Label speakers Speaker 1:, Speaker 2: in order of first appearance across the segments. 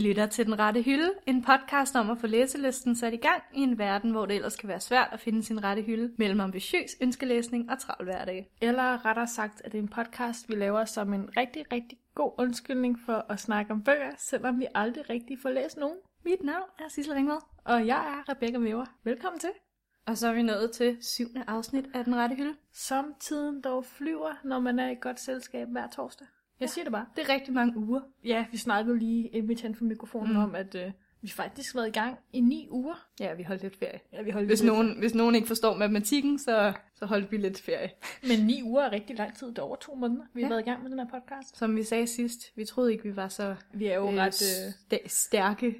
Speaker 1: lytter til Den Rette Hylde, en podcast om at få læselisten sat i gang i en verden, hvor det ellers kan være svært at finde sin rette hylde mellem ambitiøs ønskelæsning og travl hverdag.
Speaker 2: Eller rettere sagt, at det er en podcast, vi laver som en rigtig, rigtig god undskyldning for at snakke om bøger, selvom vi aldrig rigtig får læst nogen.
Speaker 1: Mit navn er Sissel Ringvad,
Speaker 2: Og jeg er Rebecca Møver. Velkommen til.
Speaker 1: og så er vi nået til syvende afsnit af Den Rette Hylde.
Speaker 2: Som tiden dog flyver, når man er i godt selskab hver torsdag. Jeg siger det bare.
Speaker 1: Det er rigtig mange uger.
Speaker 2: Ja, vi snakkede lige inden vi tændte for mikrofonen
Speaker 1: Mm.
Speaker 2: mm. om, at øh, vi faktisk har været i gang i ni uger.
Speaker 1: Ja, vi holdt lidt ferie.
Speaker 2: Ja, vi holdt
Speaker 1: Hvis
Speaker 2: lidt-
Speaker 1: nogen, hvis nogen ikke forstår matematikken, så, så holdt vi lidt ferie.
Speaker 2: Men ni uger er rigtig lang tid. Det er over to måneder, vi har
Speaker 1: Ja.
Speaker 2: været i gang med den her podcast.
Speaker 1: Som vi sagde sidst, vi troede ikke, vi var så
Speaker 2: Vi er jo øh, ret øh,
Speaker 1: st- stærke.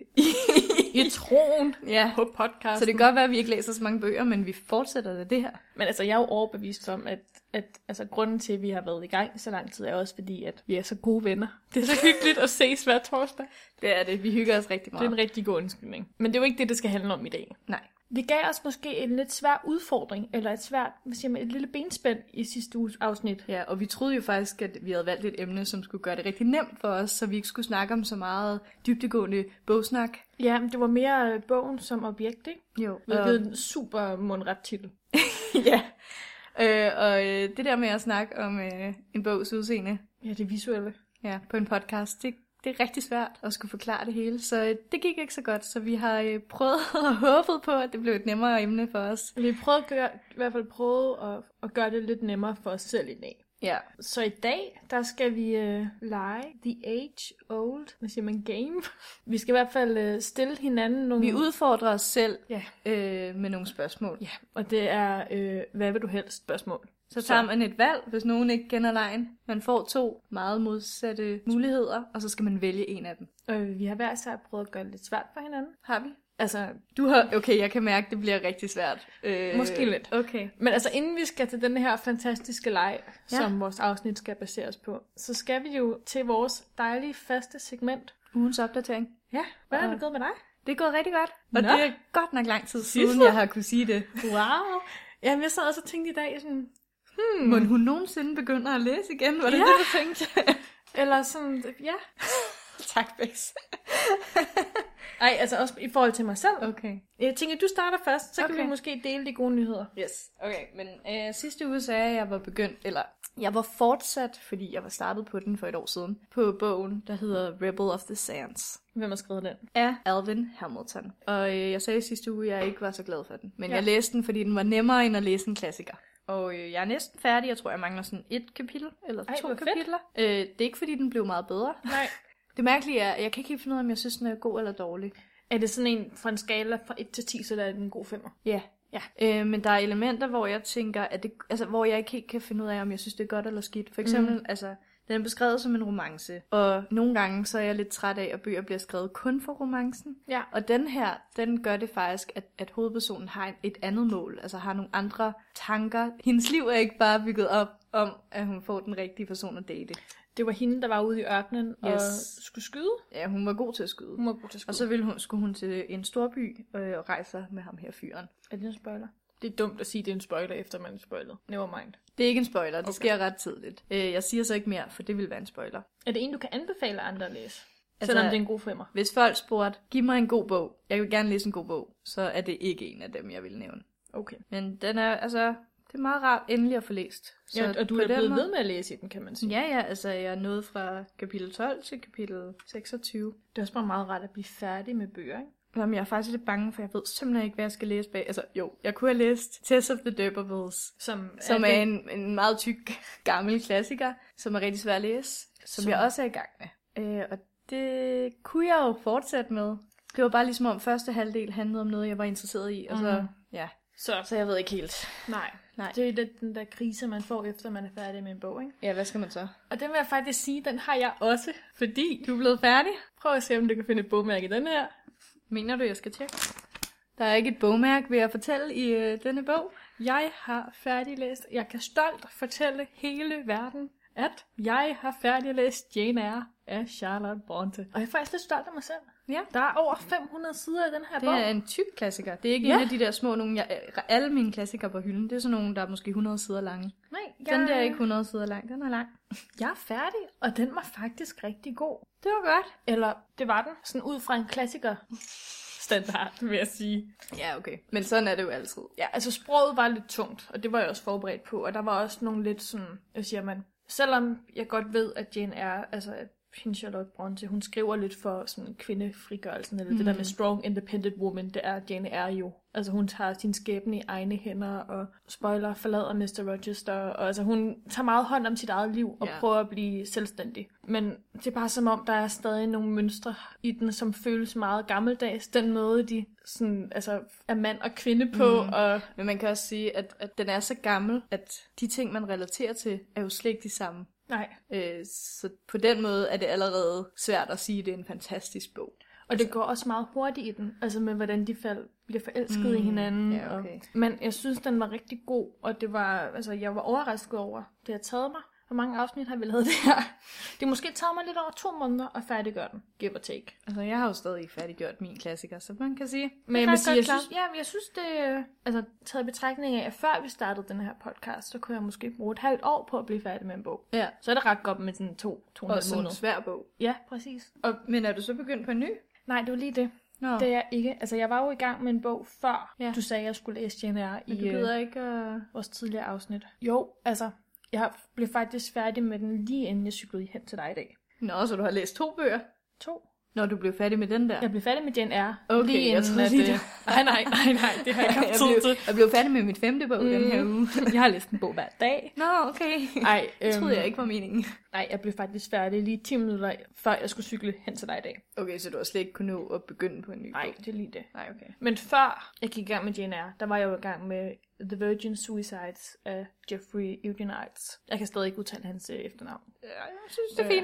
Speaker 2: i troen
Speaker 1: ja,
Speaker 2: på podcasten.
Speaker 1: så det kan godt være, at vi ikke læser så mange bøger, men vi fortsætter da det her.
Speaker 2: Men altså, jeg er jo overbevist om, at, at altså, grunden til, at vi har været i gang i så lang tid, er også fordi, at vi er så gode venner. Det er så hyggeligt at ses hver torsdag.
Speaker 1: Det er det. Vi hygger os rigtig
Speaker 2: Det er en rigtig god undskyldning. Men det er jo ikke det, det skal handle om i dag.
Speaker 1: Nej.
Speaker 2: Vi gav os måske en lidt svær udfordring, eller et svært, hvad siger man, et lille benspænd i sidste uges afsnit.
Speaker 1: Ja, og vi troede jo faktisk, at vi havde valgt et emne, som skulle gøre det rigtig nemt for os, så vi ikke skulle snakke om så meget dybtegående bogsnak.
Speaker 2: Ja, men det var mere øh, bogen som objekt, ikke?
Speaker 1: Jo.
Speaker 2: Hvilket er en super mundret titel.
Speaker 1: ja. Øh, og øh, det der med at snakke om øh, en bogs udseende
Speaker 2: Ja, det visuelle.
Speaker 1: ja, på en podcast, det, det er rigtig svært at skulle forklare det hele. Så øh, det gik ikke så godt, så vi har øh, prøvet og håbet på, at det blev et nemmere emne for os.
Speaker 2: Vi prøvede at gøre, i hvert fald prøvede at, at gøre det lidt nemmere for os selv i dag.
Speaker 1: Ja.
Speaker 2: Så i dag, der skal vi øh, lege The Age Old, hvad siger man, game. Vi skal i hvert fald øh, stille hinanden nogle...
Speaker 1: Vi udfordrer os selv
Speaker 2: Ja.
Speaker 1: øh, med nogle spørgsmål.
Speaker 2: Ja, og det er, øh, hvad vil du helst spørgsmål.
Speaker 1: Så tager man et valg, hvis nogen ikke kender lejen. Man får to meget modsatte muligheder, og så skal man vælge en af dem.
Speaker 2: Øh, vi har hver især prøvet at gøre det lidt svært for hinanden.
Speaker 1: Har vi?
Speaker 2: Altså,
Speaker 1: Du har... Okay, jeg kan mærke, det bliver rigtig svært. Øh,
Speaker 2: Måske lidt.
Speaker 1: Okay.
Speaker 2: men altså inden vi skal til den her fantastiske leg,
Speaker 1: Ja.
Speaker 2: ja. som vores afsnit skal baseres på, så skal vi jo til vores dejlige faste segment.
Speaker 1: Ugens opdatering.
Speaker 2: Ja, hvad er
Speaker 1: Og-
Speaker 2: det gået med dig?
Speaker 1: Det går rigtig godt. Og
Speaker 2: Nå.
Speaker 1: det er godt nok lang tid siden,
Speaker 2: Sissel.
Speaker 1: jeg har kunne sige det.
Speaker 2: Wow! Jamen, jeg sad også og tænkte i dag sådan,
Speaker 1: Mm. Må hun nogensinde begynder at læse igen? Var det
Speaker 2: Ja.
Speaker 1: det, du tænkte?
Speaker 2: eller sådan, ja.
Speaker 1: tak, Bex.
Speaker 2: Ej, altså også i forhold til mig selv.
Speaker 1: Okay.
Speaker 2: Jeg tænker, du starter først, så okay.
Speaker 1: Okay.
Speaker 2: kan vi måske dele de gode nyheder.
Speaker 1: Yes, okay. Men øh, sidste uge sagde jeg, at jeg var begyndt, eller jeg var fortsat, fordi jeg var startet på den for et år siden, på bogen, der hedder Rebel of the Sands.
Speaker 2: Hvem har skrevet den?
Speaker 1: af Alvin Hamilton. Og øh, jeg sagde i sidste uge, at jeg ikke var så glad for den. Men ja.
Speaker 2: Ja.
Speaker 1: jeg læste den, fordi den var nemmere end at læse en klassiker. Og øh, jeg er næsten færdig. Jeg tror, jeg mangler sådan et kapitel, eller
Speaker 2: Ej,
Speaker 1: to
Speaker 2: hvor fedt.
Speaker 1: kapitler. Øh, det er ikke, fordi den blev meget bedre.
Speaker 2: Nej.
Speaker 1: Det mærkelige er, at jeg kan ikke helt finde ud af, om jeg synes, den er god eller dårlig.
Speaker 2: Er det sådan en fra en skala fra 1 til 10, så der er den en god femmer?
Speaker 1: Ja. ja. Øh, men der er elementer, hvor jeg tænker, at det, altså, hvor jeg ikke helt kan finde ud af, om jeg synes, det er godt eller skidt. For eksempel, mm. altså, den er beskrevet som en romance. Og nogle gange, så er jeg lidt træt af, at bøger bliver skrevet kun for romancen.
Speaker 2: Ja.
Speaker 1: Og den her, den gør det faktisk, at, at hovedpersonen har en- et andet mål, altså har nogle andre tanker. Hendes liv er ikke bare bygget op om, at hun får den rigtige person at date.
Speaker 2: Det var hende, der var ude i ørkenen yes. og
Speaker 1: Yes.
Speaker 2: skulle skyde.
Speaker 1: Ja, hun var god til at skyde.
Speaker 2: Hun var god til at skyde.
Speaker 1: Og så ville hun, skulle hun til en stor by øh, og rejse sig med ham her fyren.
Speaker 2: er det en spoiler? Det er dumt at sige, at det er en spoiler, efter man er spoilet. Never mind.
Speaker 1: Det er ikke en spoiler, det okay. sker ret tidligt. Øh, jeg siger så ikke mere, for det ville være en spoiler.
Speaker 2: Er det en, du kan anbefale andre at læse?
Speaker 1: Altså-
Speaker 2: Altså, selvom det er en god femmer.
Speaker 1: Hvis folk spurgte, giv mig en god bog, jeg vil gerne læse en god bog, så er det ikke en af dem, jeg vil nævne.
Speaker 2: Okay.
Speaker 1: Men den er, altså, det er meget rart endelig at få læst. Så
Speaker 2: Ja, og du
Speaker 1: på
Speaker 2: er
Speaker 1: den
Speaker 2: blevet
Speaker 1: måde-
Speaker 2: ved med at læse i den, kan man sige.
Speaker 1: Ja, ja, altså jeg er nået fra kapitel 12 til kapitel 26.
Speaker 2: Det er også bare meget rart at blive færdig med bøger, ikke?
Speaker 1: Jamen, jeg er faktisk lidt bange, for jeg ved simpelthen ikke, hvad jeg skal læse bag. Altså, jo, jeg kunne have læst Tess of the Durbervilles,
Speaker 2: Som,
Speaker 1: som
Speaker 2: det-
Speaker 1: er en, en meget tyk, gammel klassiker, som er rigtig svær at læse, som, som...
Speaker 2: Som-
Speaker 1: jeg også er i gang med. Øh, og det kunne jeg jo fortsætte med. Det var bare ligesom om første halvdel handlede om noget, jeg var interesseret i, og så,
Speaker 2: Mhm.
Speaker 1: ja.
Speaker 2: Så,
Speaker 1: Så jeg ved ikke helt.
Speaker 2: nej.
Speaker 1: Nej.
Speaker 2: Det er lidt den der krise, man får, efter man er færdig med en bog, ikke?
Speaker 1: Ja, hvad skal man så?
Speaker 2: Og den vil jeg faktisk sige, den har jeg også, fordi...
Speaker 1: Du er blevet færdig?
Speaker 2: Prøv at se, om du kan finde et bogmærke i den her.
Speaker 1: Mener du, jeg skal tjekke? Der er ikke et bogmærke, vil jeg fortælle, i øh, denne bog.
Speaker 2: Jeg har færdiglæst... Jeg kan stolt fortælle hele verden, at jeg har færdiglæst Jane Eyre af Charlotte Bronte. Og jeg er faktisk lidt stolt af mig selv.
Speaker 1: Ja.
Speaker 2: Der er over 500 sider i den her
Speaker 1: Det
Speaker 2: bog.
Speaker 1: er en tyk klassiker. Det er ikke
Speaker 2: Ja.
Speaker 1: ja. en af de der små nogen. Jeg, alle mine klassikere på hylden, det er sådan nogle, der er måske 100 sider lange.
Speaker 2: Nej,
Speaker 1: Ja. Den der er ikke 100 sider lang, den er lang.
Speaker 2: Jeg er færdig, og den var faktisk rigtig god.
Speaker 1: Det var godt.
Speaker 2: Eller det var den, sådan ud fra en klassiker standard, vil jeg sige.
Speaker 1: Ja, okay. Men sådan er det jo altid.
Speaker 2: Ja, altså sproget var lidt tungt, og det var jeg også forberedt på, og der var også nogle lidt sådan, jeg siger man, selvom jeg godt ved, at Jane er, altså at hende Charlotte Bronte, hun skriver lidt for sådan kvindefrigørelsen, eller mm. det der med strong independent woman, det er Jane er jo. Altså hun tager sin skæbne i egne hænder, og spoiler, forlader Mr. Rochester, og altså hun tager meget hånd om sit eget liv, og
Speaker 1: Ja.
Speaker 2: prøver at blive selvstændig. Men det er bare som om, der er stadig nogle mønstre i den, som føles meget gammeldags. Den måde, de sådan, altså, er mand og kvinde på, mm. og
Speaker 1: Men man kan også sige, at, at den er så gammel, at de ting, man relaterer til, er jo slet ikke de samme.
Speaker 2: nej.
Speaker 1: Øh, så på den måde er det allerede svært at sige, at det er en fantastisk bog.
Speaker 2: Og det går også meget hurtigt i den, altså med hvordan de fald bliver forelsket mm, i hinanden.
Speaker 1: ja, okay.
Speaker 2: og, men jeg synes, den var rigtig god, og det var, altså, jeg var overrasket over, det har taget mig. Hvor mange afsnit har vi lavet det her? Det har måske taget mig lidt over to måneder at færdiggøre den, give or take.
Speaker 1: Altså, jeg har jo stadig ikke færdiggjort min klassiker, så man kan sige...
Speaker 2: Men jeg,
Speaker 1: kan
Speaker 2: vil sige,
Speaker 1: godt
Speaker 2: jeg,
Speaker 1: klare.
Speaker 2: synes, ja, men jeg synes, det øh, altså, taget i betragtning af, at før vi startede den her podcast, så kunne jeg måske bruge et halvt år på at blive færdig med en bog.
Speaker 1: Ja,
Speaker 2: Så er det ret godt med sådan to, to og en
Speaker 1: og
Speaker 2: halv
Speaker 1: sådan
Speaker 2: måned.
Speaker 1: en svær bog.
Speaker 2: Ja, præcis.
Speaker 1: Og, men er du så begyndt på en ny?
Speaker 2: Nej, det var lige det.
Speaker 1: Nå,
Speaker 2: Det er jeg ikke. Altså, jeg var jo i gang med en bog før, ja.
Speaker 1: Ja.
Speaker 2: du sagde, at jeg skulle læse JNR i
Speaker 1: men du
Speaker 2: øh,
Speaker 1: gider ikke at...
Speaker 2: vores tidligere afsnit. Jo, altså, jeg blev faktisk færdig med den lige inden jeg cyklede hen til dig i dag.
Speaker 1: Nå, så du har læst to bøger,
Speaker 2: To.
Speaker 1: når du blev færdig med den der.
Speaker 2: Jeg blev færdig med JNR
Speaker 1: Okay,
Speaker 2: lige
Speaker 1: jeg
Speaker 2: inden,
Speaker 1: troede lige,
Speaker 2: øh, Nej, nej, nej, nej, det har jeg ikke haft tid
Speaker 1: blev,
Speaker 2: til.
Speaker 1: jeg blev færdig med mit femte bog mm. den her uge.
Speaker 2: jeg har læst en bog hver dag.
Speaker 1: Nå, okay. Øhm.
Speaker 2: Nej,
Speaker 1: Det troede jeg ikke var meningen.
Speaker 2: øhm, Nej, jeg blev faktisk færdig lige 10 minutter før jeg skulle cykle hen til dig i dag.
Speaker 1: Okay, så du har slet ikke kunnet nå at begynde på en ny
Speaker 2: Nej,
Speaker 1: bog?
Speaker 2: det er lige det.
Speaker 1: Nej, okay.
Speaker 2: Men før jeg gik i gang med JNR, der var jeg jo i gang med The Virgin Suicides af Jeffrey Eugenides. Jeg kan stadig ikke udtale hans øh, efternavn.
Speaker 1: Ja, jeg synes,
Speaker 2: Øh, ja.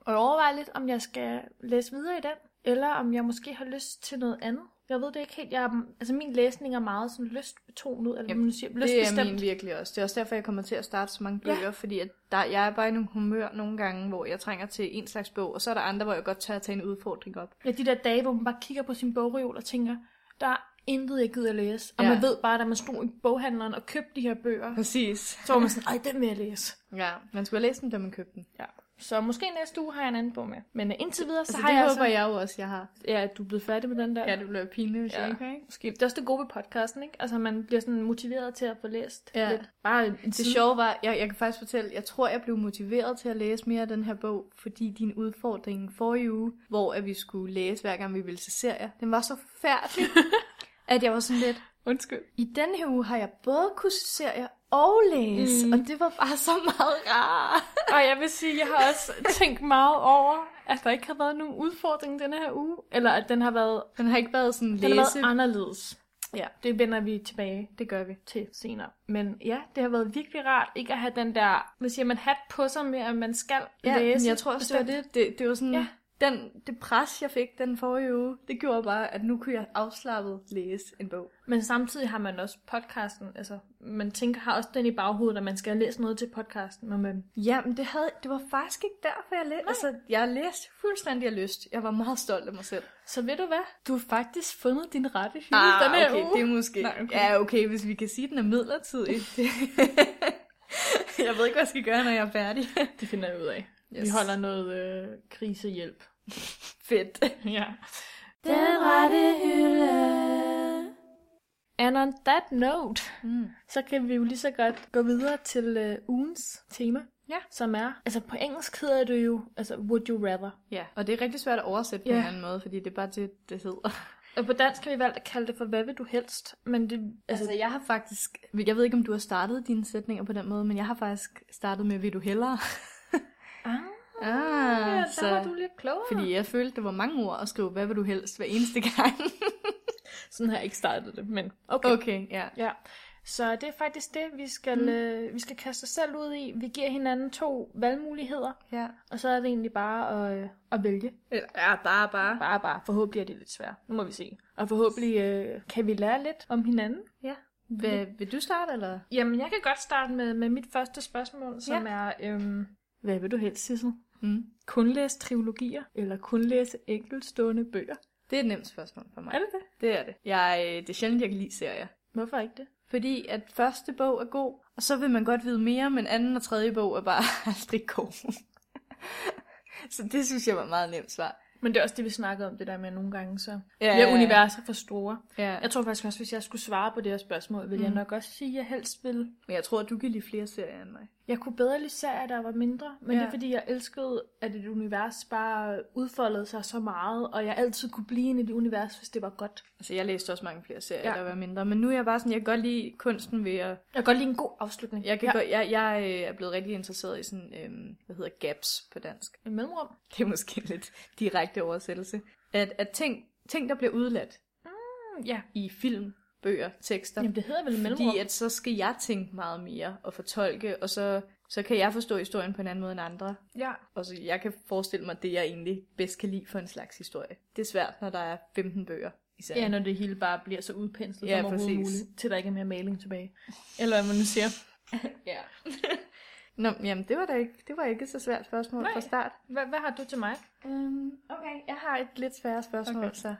Speaker 2: Og jeg overvejer lidt, om jeg skal læse videre i den, eller om jeg måske har lyst til noget andet. Jeg ved det ikke helt. Jeg, er- altså min læsning er meget sådan lystbetonet, eller Jamen, man siger,
Speaker 1: Det er
Speaker 2: lystbestemt.
Speaker 1: min virkelig også. Det er også derfor, jeg kommer til at starte så mange bøger, ja. fordi at der, jeg er bare i nogle humør nogle gange, hvor jeg trænger til en slags bog, og så er der andre, hvor jeg godt tør at tage en udfordring op.
Speaker 2: Ja, de der dage, hvor man bare kigger på sin bogreol og tænker, der er intet, jeg gider læse. Og ja.
Speaker 1: Ja.
Speaker 2: man ved bare, da man stod i boghandleren og købte de her bøger,
Speaker 1: Præcis.
Speaker 2: så var man sådan, ej, den vil jeg læse.
Speaker 1: Ja, man skulle have læst dem, da man købte dem.
Speaker 2: Ja. Så måske næste uge har jeg en anden bog med. Men øh, indtil videre, så
Speaker 1: Så
Speaker 2: altså,
Speaker 1: altså,
Speaker 2: har
Speaker 1: det
Speaker 2: jeg
Speaker 1: jeg håber
Speaker 2: altså...
Speaker 1: jeg jo også, jeg har.
Speaker 2: Ja, at du er blevet færdig med den der.
Speaker 1: Ja, det bliver pinligt, hvis
Speaker 2: Ja.
Speaker 1: ja. jeg ikke har, ikke?
Speaker 2: Måske. Det er også det gode ved podcasten, ikke? Altså, man bliver sådan motiveret til at få læst
Speaker 1: Ja.
Speaker 2: lidt. Bare en
Speaker 1: Det sjove var, jeg, jeg kan faktisk fortælle, jeg tror, jeg blev motiveret til at læse mere af den her bog, fordi din udfordring forrige uge, hvor at vi skulle læse hver gang vi ville se serier, den var så færdelig, at jeg var sådan lidt,
Speaker 2: Undskyld.
Speaker 1: i den her uge har jeg både kunne se serier og læse,
Speaker 2: Mm.
Speaker 1: mm. og det var bare så meget rart.
Speaker 2: Og jeg vil sige, jeg har også tænkt meget over, at der ikke har været nogen udfordring denne her uge. Eller at den har været,
Speaker 1: Den har ikke været sådan
Speaker 2: den har
Speaker 1: læse.
Speaker 2: været anderledes.
Speaker 1: Ja.
Speaker 2: Det vender vi tilbage
Speaker 1: Det gør vi.
Speaker 2: til senere. Men ja, det har været virkelig rart ikke at have den der, hvad siger man, hat på sig med, at man skal
Speaker 1: Ja,
Speaker 2: læse.
Speaker 1: men jeg tror også, det var det. Det, det var sådan,
Speaker 2: Ja.
Speaker 1: ja. den, det pres, jeg fik den forrige uge, det gjorde bare, at nu kunne jeg afslappet læse en bog.
Speaker 2: Men samtidig har man også podcasten, altså man tænker, har også den i baghovedet, at man skal læse noget til podcasten, men man
Speaker 1: Ja, men det, havde, det var faktisk ikke derfor, jeg læste. Altså, jeg læste fuldstændig af lyst. Jeg var meget stolt af mig selv.
Speaker 2: Så ved du hvad? Du har faktisk fundet din rette hylde
Speaker 1: Ah,
Speaker 2: den her
Speaker 1: okay,
Speaker 2: uge.
Speaker 1: det er måske...
Speaker 2: Nej, okay.
Speaker 1: Ja, okay, hvis vi kan sige, at den er midlertidig. jeg ved ikke, hvad jeg skal gøre, når jeg er færdig.
Speaker 2: det finder jeg ud af. Yes. Vi
Speaker 1: Yes.
Speaker 2: holder noget øh, krisehjælp.
Speaker 1: Fedt.
Speaker 2: ja.
Speaker 1: Den rette hylde.
Speaker 2: And on that note,
Speaker 1: Mm.
Speaker 2: så kan vi jo lige så godt gå videre til øh, ugens tema.
Speaker 1: Ja.
Speaker 2: Som er, altså på engelsk hedder det jo, altså would you rather.
Speaker 1: Ja, og det er rigtig svært at oversætte på
Speaker 2: Ja.
Speaker 1: en anden måde, fordi det er bare det, det hedder.
Speaker 2: Og på dansk har vi valgt at kalde det for, hvad vil du helst? Men det, altså,
Speaker 1: Altså, jeg har faktisk... Jeg ved ikke, om du har startet dine sætninger på den måde, men jeg har faktisk startet med, vil du hellere?
Speaker 2: ah,
Speaker 1: ah,
Speaker 2: ja, der var du lidt klogere.
Speaker 1: Fordi jeg følte, det var mange ord at skrive, hvad vil du helst hver eneste gang.
Speaker 2: Sådan har jeg ikke startet det, men okay.
Speaker 1: okay, ja.
Speaker 2: Ja, så det er faktisk det, vi skal, mm. øh, vi skal kaste os selv ud i. Vi giver hinanden to valgmuligheder,
Speaker 1: ja.
Speaker 2: og så er det egentlig bare at, øh, at vælge.
Speaker 1: Ja, bare, bare.
Speaker 2: Bare, bare. Forhåbentlig er det lidt svært. Nu må vi se. Og forhåbentlig øh, kan vi lære lidt om hinanden.
Speaker 1: Ja. Hva, vil du starte, eller?
Speaker 2: Jamen, jeg kan godt starte med, med mit første spørgsmål, som ja. er... Øhm, hvad vil du helst, Sissel?
Speaker 1: Mm.
Speaker 2: Kun læse trilogier, eller kun læse enkeltstående bøger?
Speaker 1: Det er et nemt spørgsmål for mig.
Speaker 2: Er det det?
Speaker 1: Det er det. Jeg, øh, det er sjældent, jeg kan lide serier.
Speaker 2: Hvorfor ikke det?
Speaker 1: Fordi at første bog er god, og så vil man godt vide mere, men anden og tredje bog er bare aldrig god. så det synes jeg var et meget nemt svar.
Speaker 2: Men det er også det, vi snakkede om, det der med at nogle gange, så
Speaker 1: Ja,
Speaker 2: bliver universer for store.
Speaker 1: Ja.
Speaker 2: Jeg tror faktisk også, hvis jeg skulle svare på det her spørgsmål, ville mm. jeg
Speaker 1: Mm.
Speaker 2: nok også sige, at jeg helst ville.
Speaker 1: Men jeg tror, at du kan lide flere serier end mig.
Speaker 2: Jeg kunne bedre lide serier, der var mindre, men ja.
Speaker 1: Ja.
Speaker 2: det er fordi, jeg elskede, at et univers bare udfoldede sig så meget, og jeg altid kunne blive inde i det univers, hvis det var godt.
Speaker 1: Altså, jeg læste også mange flere serier,
Speaker 2: Ja.
Speaker 1: ja. der var mindre. Men nu er jeg bare sådan, jeg kan godt lide kunsten ved at...
Speaker 2: Jeg kan godt lide en god afslutning.
Speaker 1: Jeg, kan
Speaker 2: ja.
Speaker 1: ja. godt, jeg, jeg øh, er blevet rigtig interesseret i sådan, øhm, hvad hedder gaps på dansk.
Speaker 2: En mellemrum.
Speaker 1: Det er måske en lidt direkte oversættelse. At, at ting, ting, der bliver udladt
Speaker 2: Mm, Ja,
Speaker 1: i film, bøger, tekster,
Speaker 2: Jamen, det hedder vel en mellemrum.
Speaker 1: Fordi at så skal jeg tænke meget mere og fortolke, og så, så kan jeg forstå historien på en anden måde end andre.
Speaker 2: Ja.
Speaker 1: Og så jeg kan forestille mig det, jeg egentlig bedst kan lide for en slags historie. Det er svært, når der er 15 bøger især.
Speaker 2: ja, når det hele bare bliver så udpenslet ja,
Speaker 1: Ja,
Speaker 2: som overhovedet
Speaker 1: præcis.
Speaker 2: muligt, til der ikke er mere maling tilbage. Eller hvad man nu siger.
Speaker 1: ja. Nå, men jamen, det var da ikke, det var ikke så svært spørgsmål
Speaker 2: Nej.
Speaker 1: fra start.
Speaker 2: Hvad, hvad har du til mig?
Speaker 1: Um, okay, jeg har et lidt sværere spørgsmål
Speaker 2: Okay.
Speaker 1: okay. så.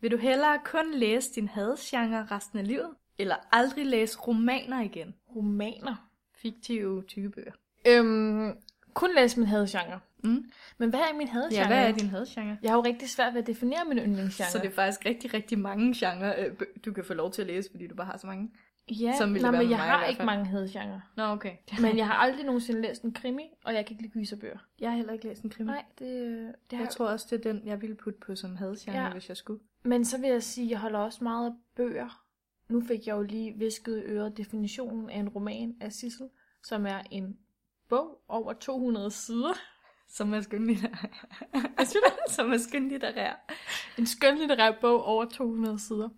Speaker 1: Vil du hellere kun læse din hadesgenre resten af livet, eller aldrig læse romaner igen?
Speaker 2: Romaner.
Speaker 1: Fiktive typebøger.
Speaker 2: Øhm, kun læse min hadesgenre.
Speaker 1: Mm.
Speaker 2: Men hvad er min hadesgenre?
Speaker 1: Ja, hvad er din hadesgenre?
Speaker 2: Jeg har jo rigtig svært ved at definere min yndlingsgenre.
Speaker 1: Så det er faktisk rigtig, rigtig mange genrer, øh, bø- du kan få lov til at læse, fordi du bare har så mange.
Speaker 2: ja,
Speaker 1: som ville
Speaker 2: nej,
Speaker 1: være
Speaker 2: men
Speaker 1: med
Speaker 2: jeg
Speaker 1: mig i
Speaker 2: har
Speaker 1: hvert
Speaker 2: ikke
Speaker 1: fald.
Speaker 2: mange hadesgenre.
Speaker 1: Nå, okay.
Speaker 2: Men jeg har aldrig nogensinde læst en krimi, og jeg kan ikke lide gyserbøger.
Speaker 1: Jeg har heller ikke læst en krimi.
Speaker 2: Nej, det, det har
Speaker 1: Jeg tror også, det er den, jeg ville putte på som hadgenre,
Speaker 2: Ja.
Speaker 1: ja. hvis jeg skulle.
Speaker 2: Men så vil jeg sige, at jeg holder også meget af bøger. Nu fik jeg jo lige visket i øret definitionen af en roman af Sissel, som er en bog over 200 sider.
Speaker 1: Som er skønlitterær. som er skønlitterær.
Speaker 2: En skønlitterær bog over 200 sider.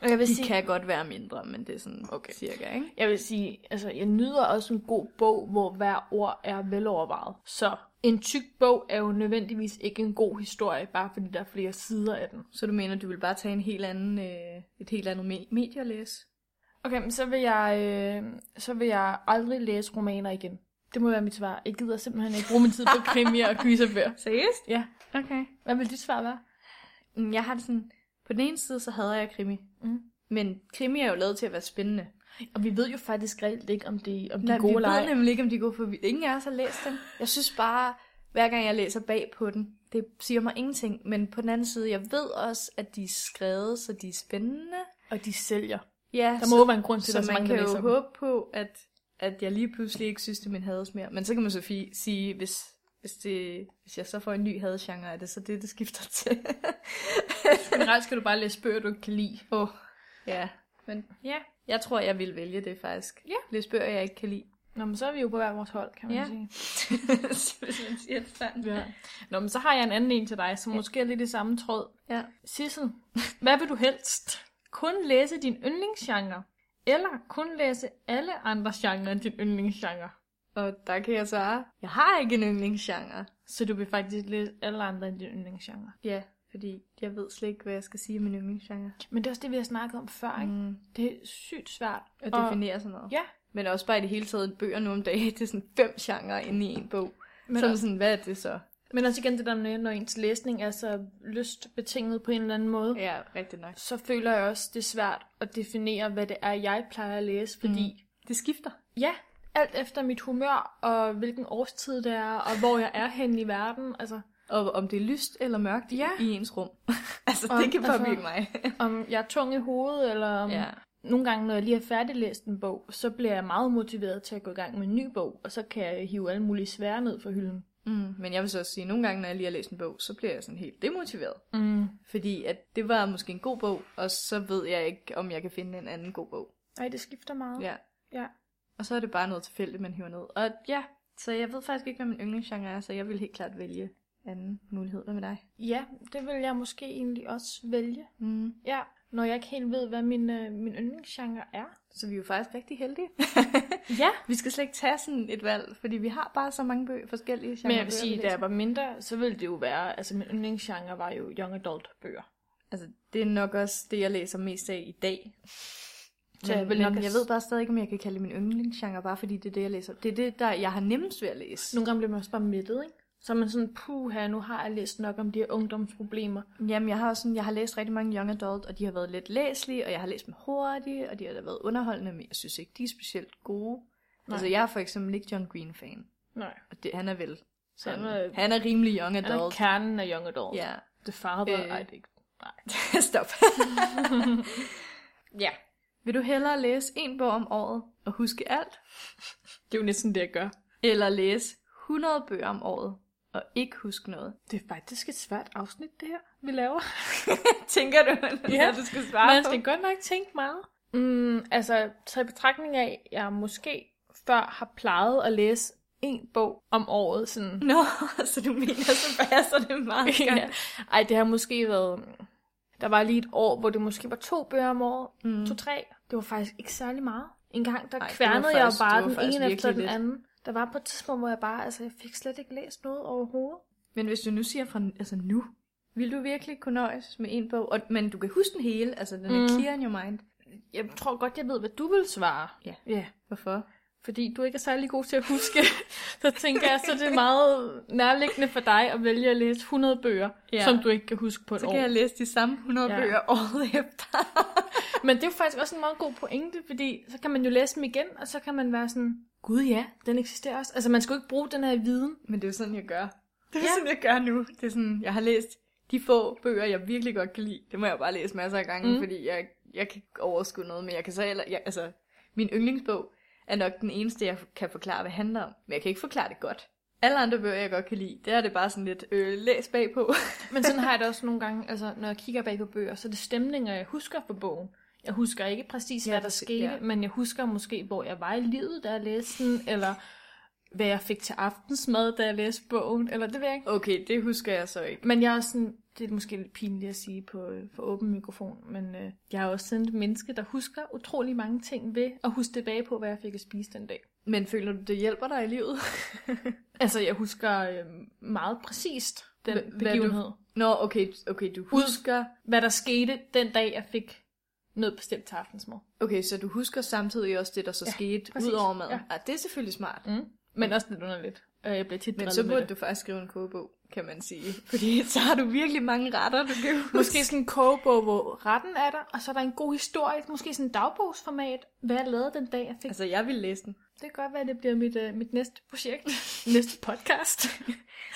Speaker 2: Og jeg vil
Speaker 1: De
Speaker 2: sige,
Speaker 1: kan godt være mindre, men det er sådan
Speaker 2: Okay.
Speaker 1: okay. cirka, ikke?
Speaker 2: Jeg vil sige, altså jeg nyder også en god bog, hvor hver ord er velovervejet. Så en tyk bog er jo nødvendigvis ikke en god historie, bare fordi der er flere sider af den.
Speaker 1: Så du mener, du vil bare tage en helt anden, øh, et helt andet me- medie at læse?
Speaker 2: Okay, men så vil jeg, øh, så vil jeg aldrig læse romaner igen. Det må være mit svar. Jeg gider simpelthen ikke bruge min tid på krimier og gyserbøger.
Speaker 1: Seriøst?
Speaker 2: Ja.
Speaker 1: Okay.
Speaker 2: Hvad vil dit svar være?
Speaker 1: Mm, Jeg har det sådan, på den ene side, så hader jeg krimi.
Speaker 2: Mm.
Speaker 1: Men krimi er jo lavet til at være spændende.
Speaker 2: Og vi ved jo faktisk reelt ikke, om de, om de
Speaker 1: Nej,
Speaker 2: er gode
Speaker 1: vi
Speaker 2: eller
Speaker 1: ved
Speaker 2: ej.
Speaker 1: nemlig ikke, om de er gode, for vi- ingen af os har læst dem. Jeg synes bare, hver gang jeg læser bag på den, det siger mig ingenting. Men på den anden side, jeg ved også, at de er skrevet, så de er spændende.
Speaker 2: Og de sælger.
Speaker 1: Ja,
Speaker 2: Der må jo være en grund til,
Speaker 1: så,
Speaker 2: at der er
Speaker 1: så
Speaker 2: Altså, så
Speaker 1: man
Speaker 2: mange,
Speaker 1: kan
Speaker 2: der
Speaker 1: jo
Speaker 2: læser dem.
Speaker 1: håbe på, at, at jeg lige pludselig ikke synes, det er min hades mere. Men så kan man så fi- sige, hvis, hvis, det, hvis jeg så får en ny hadesgenre, er det så det, det skifter til.
Speaker 2: Generelt skal du bare læse bøger, du ikke kan lide.
Speaker 1: oh, ja, men ja, jeg tror, jeg vil vælge det faktisk.
Speaker 2: Ja.
Speaker 1: Læs bøger, jeg ikke kan lide.
Speaker 2: Nå, men så er vi jo på hver vores hold, kan man
Speaker 1: Ja.
Speaker 2: sige.
Speaker 1: Hvis man siger det sådan.
Speaker 2: Ja. Nå, men så har jeg en anden en til dig, som ja. måske er lidt i samme tråd.
Speaker 1: ja.
Speaker 2: Sissel, hvad vil du helst? Kun læse din yndlingsgenre, eller kun læse alle andre genrer end din yndlingsgenre?
Speaker 1: Og der kan jeg svare, jeg har ikke en yndlingsgenre.
Speaker 2: Så du vil faktisk læse alle andre end din yndlingsgenre.
Speaker 1: Ja, fordi jeg ved slet ikke, hvad jeg skal sige om min yndlingsgenre.
Speaker 2: Men det er også det, vi har snakket om før, ikke?
Speaker 1: Mm,
Speaker 2: Det er sygt svært
Speaker 1: at definere sådan noget.
Speaker 2: Ja,
Speaker 1: Men også bare i det hele taget bøger nu om dagen, det er sådan fem genrer inde i en bog.
Speaker 2: men,
Speaker 1: så er man
Speaker 2: også,
Speaker 1: sådan, hvad er det så?
Speaker 2: men også igen det der med, når ens læsning er så lystbetinget på en eller anden måde.
Speaker 1: Ja, rigtig nok.
Speaker 2: Så føler jeg også, det er svært at definere, hvad det er, jeg plejer at læse, fordi mm.
Speaker 1: Det skifter.
Speaker 2: Ja, alt efter mit humør, og hvilken årstid det er, og hvor jeg er henne i verden. Altså,
Speaker 1: Og om det er lyst eller mørkt
Speaker 2: Ja.
Speaker 1: ja. i ens rum. altså,
Speaker 2: Og-
Speaker 1: det kan
Speaker 2: altså-
Speaker 1: påvirke mig.
Speaker 2: om jeg er tung i hovedet, eller om... Ja. Nogle gange, når jeg lige har færdiglæst en bog, så bliver jeg meget motiveret til at gå i gang med en ny bog, og så kan jeg hive alle mulige svære ned fra hylden.
Speaker 1: Mm, men jeg vil så også sige, at nogle gange, når jeg lige har læst en bog, så bliver jeg sådan helt demotiveret.
Speaker 2: Mm.
Speaker 1: Fordi at det var måske en god bog, og så ved jeg ikke, om jeg kan finde en anden god bog.
Speaker 2: Ej, det skifter meget.
Speaker 1: Ja.
Speaker 2: Ja.
Speaker 1: Og så er det bare noget tilfældigt, man hiver ned. Og ja, så jeg ved faktisk ikke, hvad min yndlingsgenre er, så jeg vil helt klart vælge anden mulighed. Hvad med dig?
Speaker 2: ja, det vil jeg måske egentlig også vælge.
Speaker 1: Mm.
Speaker 2: Ja, når jeg ikke helt ved, hvad min, øh, min yndlingsgenre er.
Speaker 1: Så vi er jo faktisk rigtig heldige.
Speaker 2: Ja,
Speaker 1: vi skal slet ikke tage sådan et valg, fordi vi har bare så mange bøger, forskellige genrer.
Speaker 2: men jeg vil sige, da jeg var mindre, så ville det jo være... Altså, min yndlingsgenre var jo young adult bøger.
Speaker 1: Altså, det er nok også det, jeg læser mest af i dag. Men,
Speaker 2: Så jeg
Speaker 1: jeg,
Speaker 2: vil
Speaker 1: men
Speaker 2: nok-
Speaker 1: jeg ved bare stadig ikke, om jeg kan kalde det min yndlingsgenre, bare fordi det er det, jeg læser. Det er det, der jeg har nemmest ved at læse.
Speaker 2: Nogle gange bliver man også bare mættet, ikke? Så er man sådan, puha, nu har jeg læst nok om de her ungdomsproblemer.
Speaker 1: Jamen, jeg har også sådan, jeg har læst rigtig mange young adult, og de har været lidt læselige, og jeg har læst dem hurtigt, og de har da været underholdende, men jeg synes ikke, de er specielt gode. Nej.
Speaker 2: Nej.
Speaker 1: Altså, jeg er for eksempel ikke John Green-fan,
Speaker 2: Nej.
Speaker 1: og det, han er vel.
Speaker 2: Så han
Speaker 1: sådan-
Speaker 2: er,
Speaker 1: han er rimelig young
Speaker 2: han er
Speaker 1: adult.
Speaker 2: kernen af young adult.
Speaker 1: ja,
Speaker 2: Det farver,
Speaker 1: Øh.
Speaker 2: øh. ej, det er ikke. Nej.
Speaker 1: stop.
Speaker 2: ja.
Speaker 1: Vil du hellere læse en bog om året og huske alt,
Speaker 2: Det er jo næsten det, jeg gør.
Speaker 1: eller læse 100 bøger om året og ikke huske noget?
Speaker 2: Det er faktisk et svært afsnit, det her, vi laver.
Speaker 1: Tænker du,
Speaker 2: Ja,
Speaker 1: du skal
Speaker 2: Man
Speaker 1: på?
Speaker 2: skal godt nok tænke meget. Mm, altså, taget i betragtning af, at jeg måske før har plejet at læse en bog om året. Sådan,
Speaker 1: Nå, så du mener, så passer det meget
Speaker 2: ja.
Speaker 1: godt.
Speaker 2: Ej, det har måske været... Der var lige et år, hvor det måske var to bøger om året. Mm. To-tre. Det var faktisk ikke særlig meget. En gang, der
Speaker 1: Ej,
Speaker 2: Ej,
Speaker 1: det
Speaker 2: kværnede
Speaker 1: var
Speaker 2: jeg
Speaker 1: faktisk-
Speaker 2: jo
Speaker 1: det
Speaker 2: bare
Speaker 1: var
Speaker 2: den
Speaker 1: faktisk
Speaker 2: ene efter
Speaker 1: virkelig
Speaker 2: den
Speaker 1: lidt.
Speaker 2: anden. Der var på et tidspunkt, hvor jeg bare... Altså, jeg fik slet ikke læst noget overhovedet.
Speaker 1: Men hvis du nu siger fra altså nu, vil du virkelig kunne nøjes med en bog? Og, men du kan huske den hele, altså den er mm.
Speaker 2: Mm.
Speaker 1: clear in your mind.
Speaker 2: Jeg tror godt, jeg ved, hvad du vil svare.
Speaker 1: Ja.
Speaker 2: ja.
Speaker 1: Hvorfor?
Speaker 2: Fordi du ikke er særlig god til at huske. så tænker jeg, så det er meget nærliggende for dig at vælge at læse 100 bøger,
Speaker 1: Ja.
Speaker 2: ja. som du ikke kan huske på et
Speaker 1: Så
Speaker 2: år.
Speaker 1: kan jeg læse de samme 100 ja.
Speaker 2: Ja.
Speaker 1: bøger året efter.
Speaker 2: Men det er jo faktisk også en meget god pointe, fordi så kan man jo læse dem igen, og så kan man være sådan, gud ja, den eksisterer også. Altså man skal jo ikke bruge den her viden.
Speaker 1: Men det er jo sådan, jeg gør. Det er ja.
Speaker 2: Ja.
Speaker 1: sådan, jeg gør nu. Det er sådan, jeg har læst de få bøger, jeg virkelig godt kan lide. Det må jeg bare læse masser af gange, mm.
Speaker 2: Mm.
Speaker 1: fordi jeg, jeg kan ikke overskue noget, men jeg kan så heller... Jeg, altså, min yndlingsbog er nok den eneste, jeg kan forklare, hvad det handler om. Men jeg kan ikke forklare det godt. Alle andre bøger, jeg godt kan lide, der er det bare sådan lidt øh, læs bagpå.
Speaker 2: Men sådan har jeg det også nogle gange, altså når jeg kigger bag på bøger, så er det stemninger, jeg husker på bogen. Jeg husker ikke præcis,
Speaker 1: Ja,
Speaker 2: hvad der
Speaker 1: præcis,
Speaker 2: skete,
Speaker 1: ja.
Speaker 2: ja. men jeg husker måske, hvor jeg var i livet, da jeg læste den, eller hvad jeg fik til aftensmad, da jeg læste bogen, eller det ved jeg ikke.
Speaker 1: Okay, det husker jeg så ikke.
Speaker 2: Men jeg er også sådan, det er måske lidt pinligt at sige på øh, for åben mikrofon, men øh, jeg er også sådan et menneske, der husker utrolig mange ting ved at huske tilbage på, hvad jeg fik at spise den dag.
Speaker 1: Men føler du, det hjælper dig i livet?
Speaker 2: Altså, jeg husker øh, meget præcist den
Speaker 1: Hva- hvad
Speaker 2: begivenhed.
Speaker 1: Nå, okay, okay, du
Speaker 2: Ud-
Speaker 1: husker...
Speaker 2: Hvad der skete den dag, jeg fik noget bestemt til aftensmad.
Speaker 1: Okay, så du husker samtidig også det, der så ja,
Speaker 2: Ja,
Speaker 1: skete
Speaker 2: præcis.
Speaker 1: ud over maden. Ja.
Speaker 2: Ja.
Speaker 1: Ah, det er selvfølgelig smart.
Speaker 2: Mm. Men også lidt underligt. Øh, Jeg bliver tit
Speaker 1: Men
Speaker 2: drillet
Speaker 1: så
Speaker 2: med
Speaker 1: burde
Speaker 2: det.
Speaker 1: du faktisk skrive en kogebog, kan man sige. Fordi så har du virkelig mange retter, du kan huske.
Speaker 2: Måske sådan en kogebog, hvor retten er der, og så er der en god historie. Måske sådan en dagbogsformat. Hvad jeg lavede den dag, jeg fik. Altså,
Speaker 1: Altså, jeg vil læse den.
Speaker 2: det kan godt være, at det bliver mit, øh, mit næste projekt. næste podcast.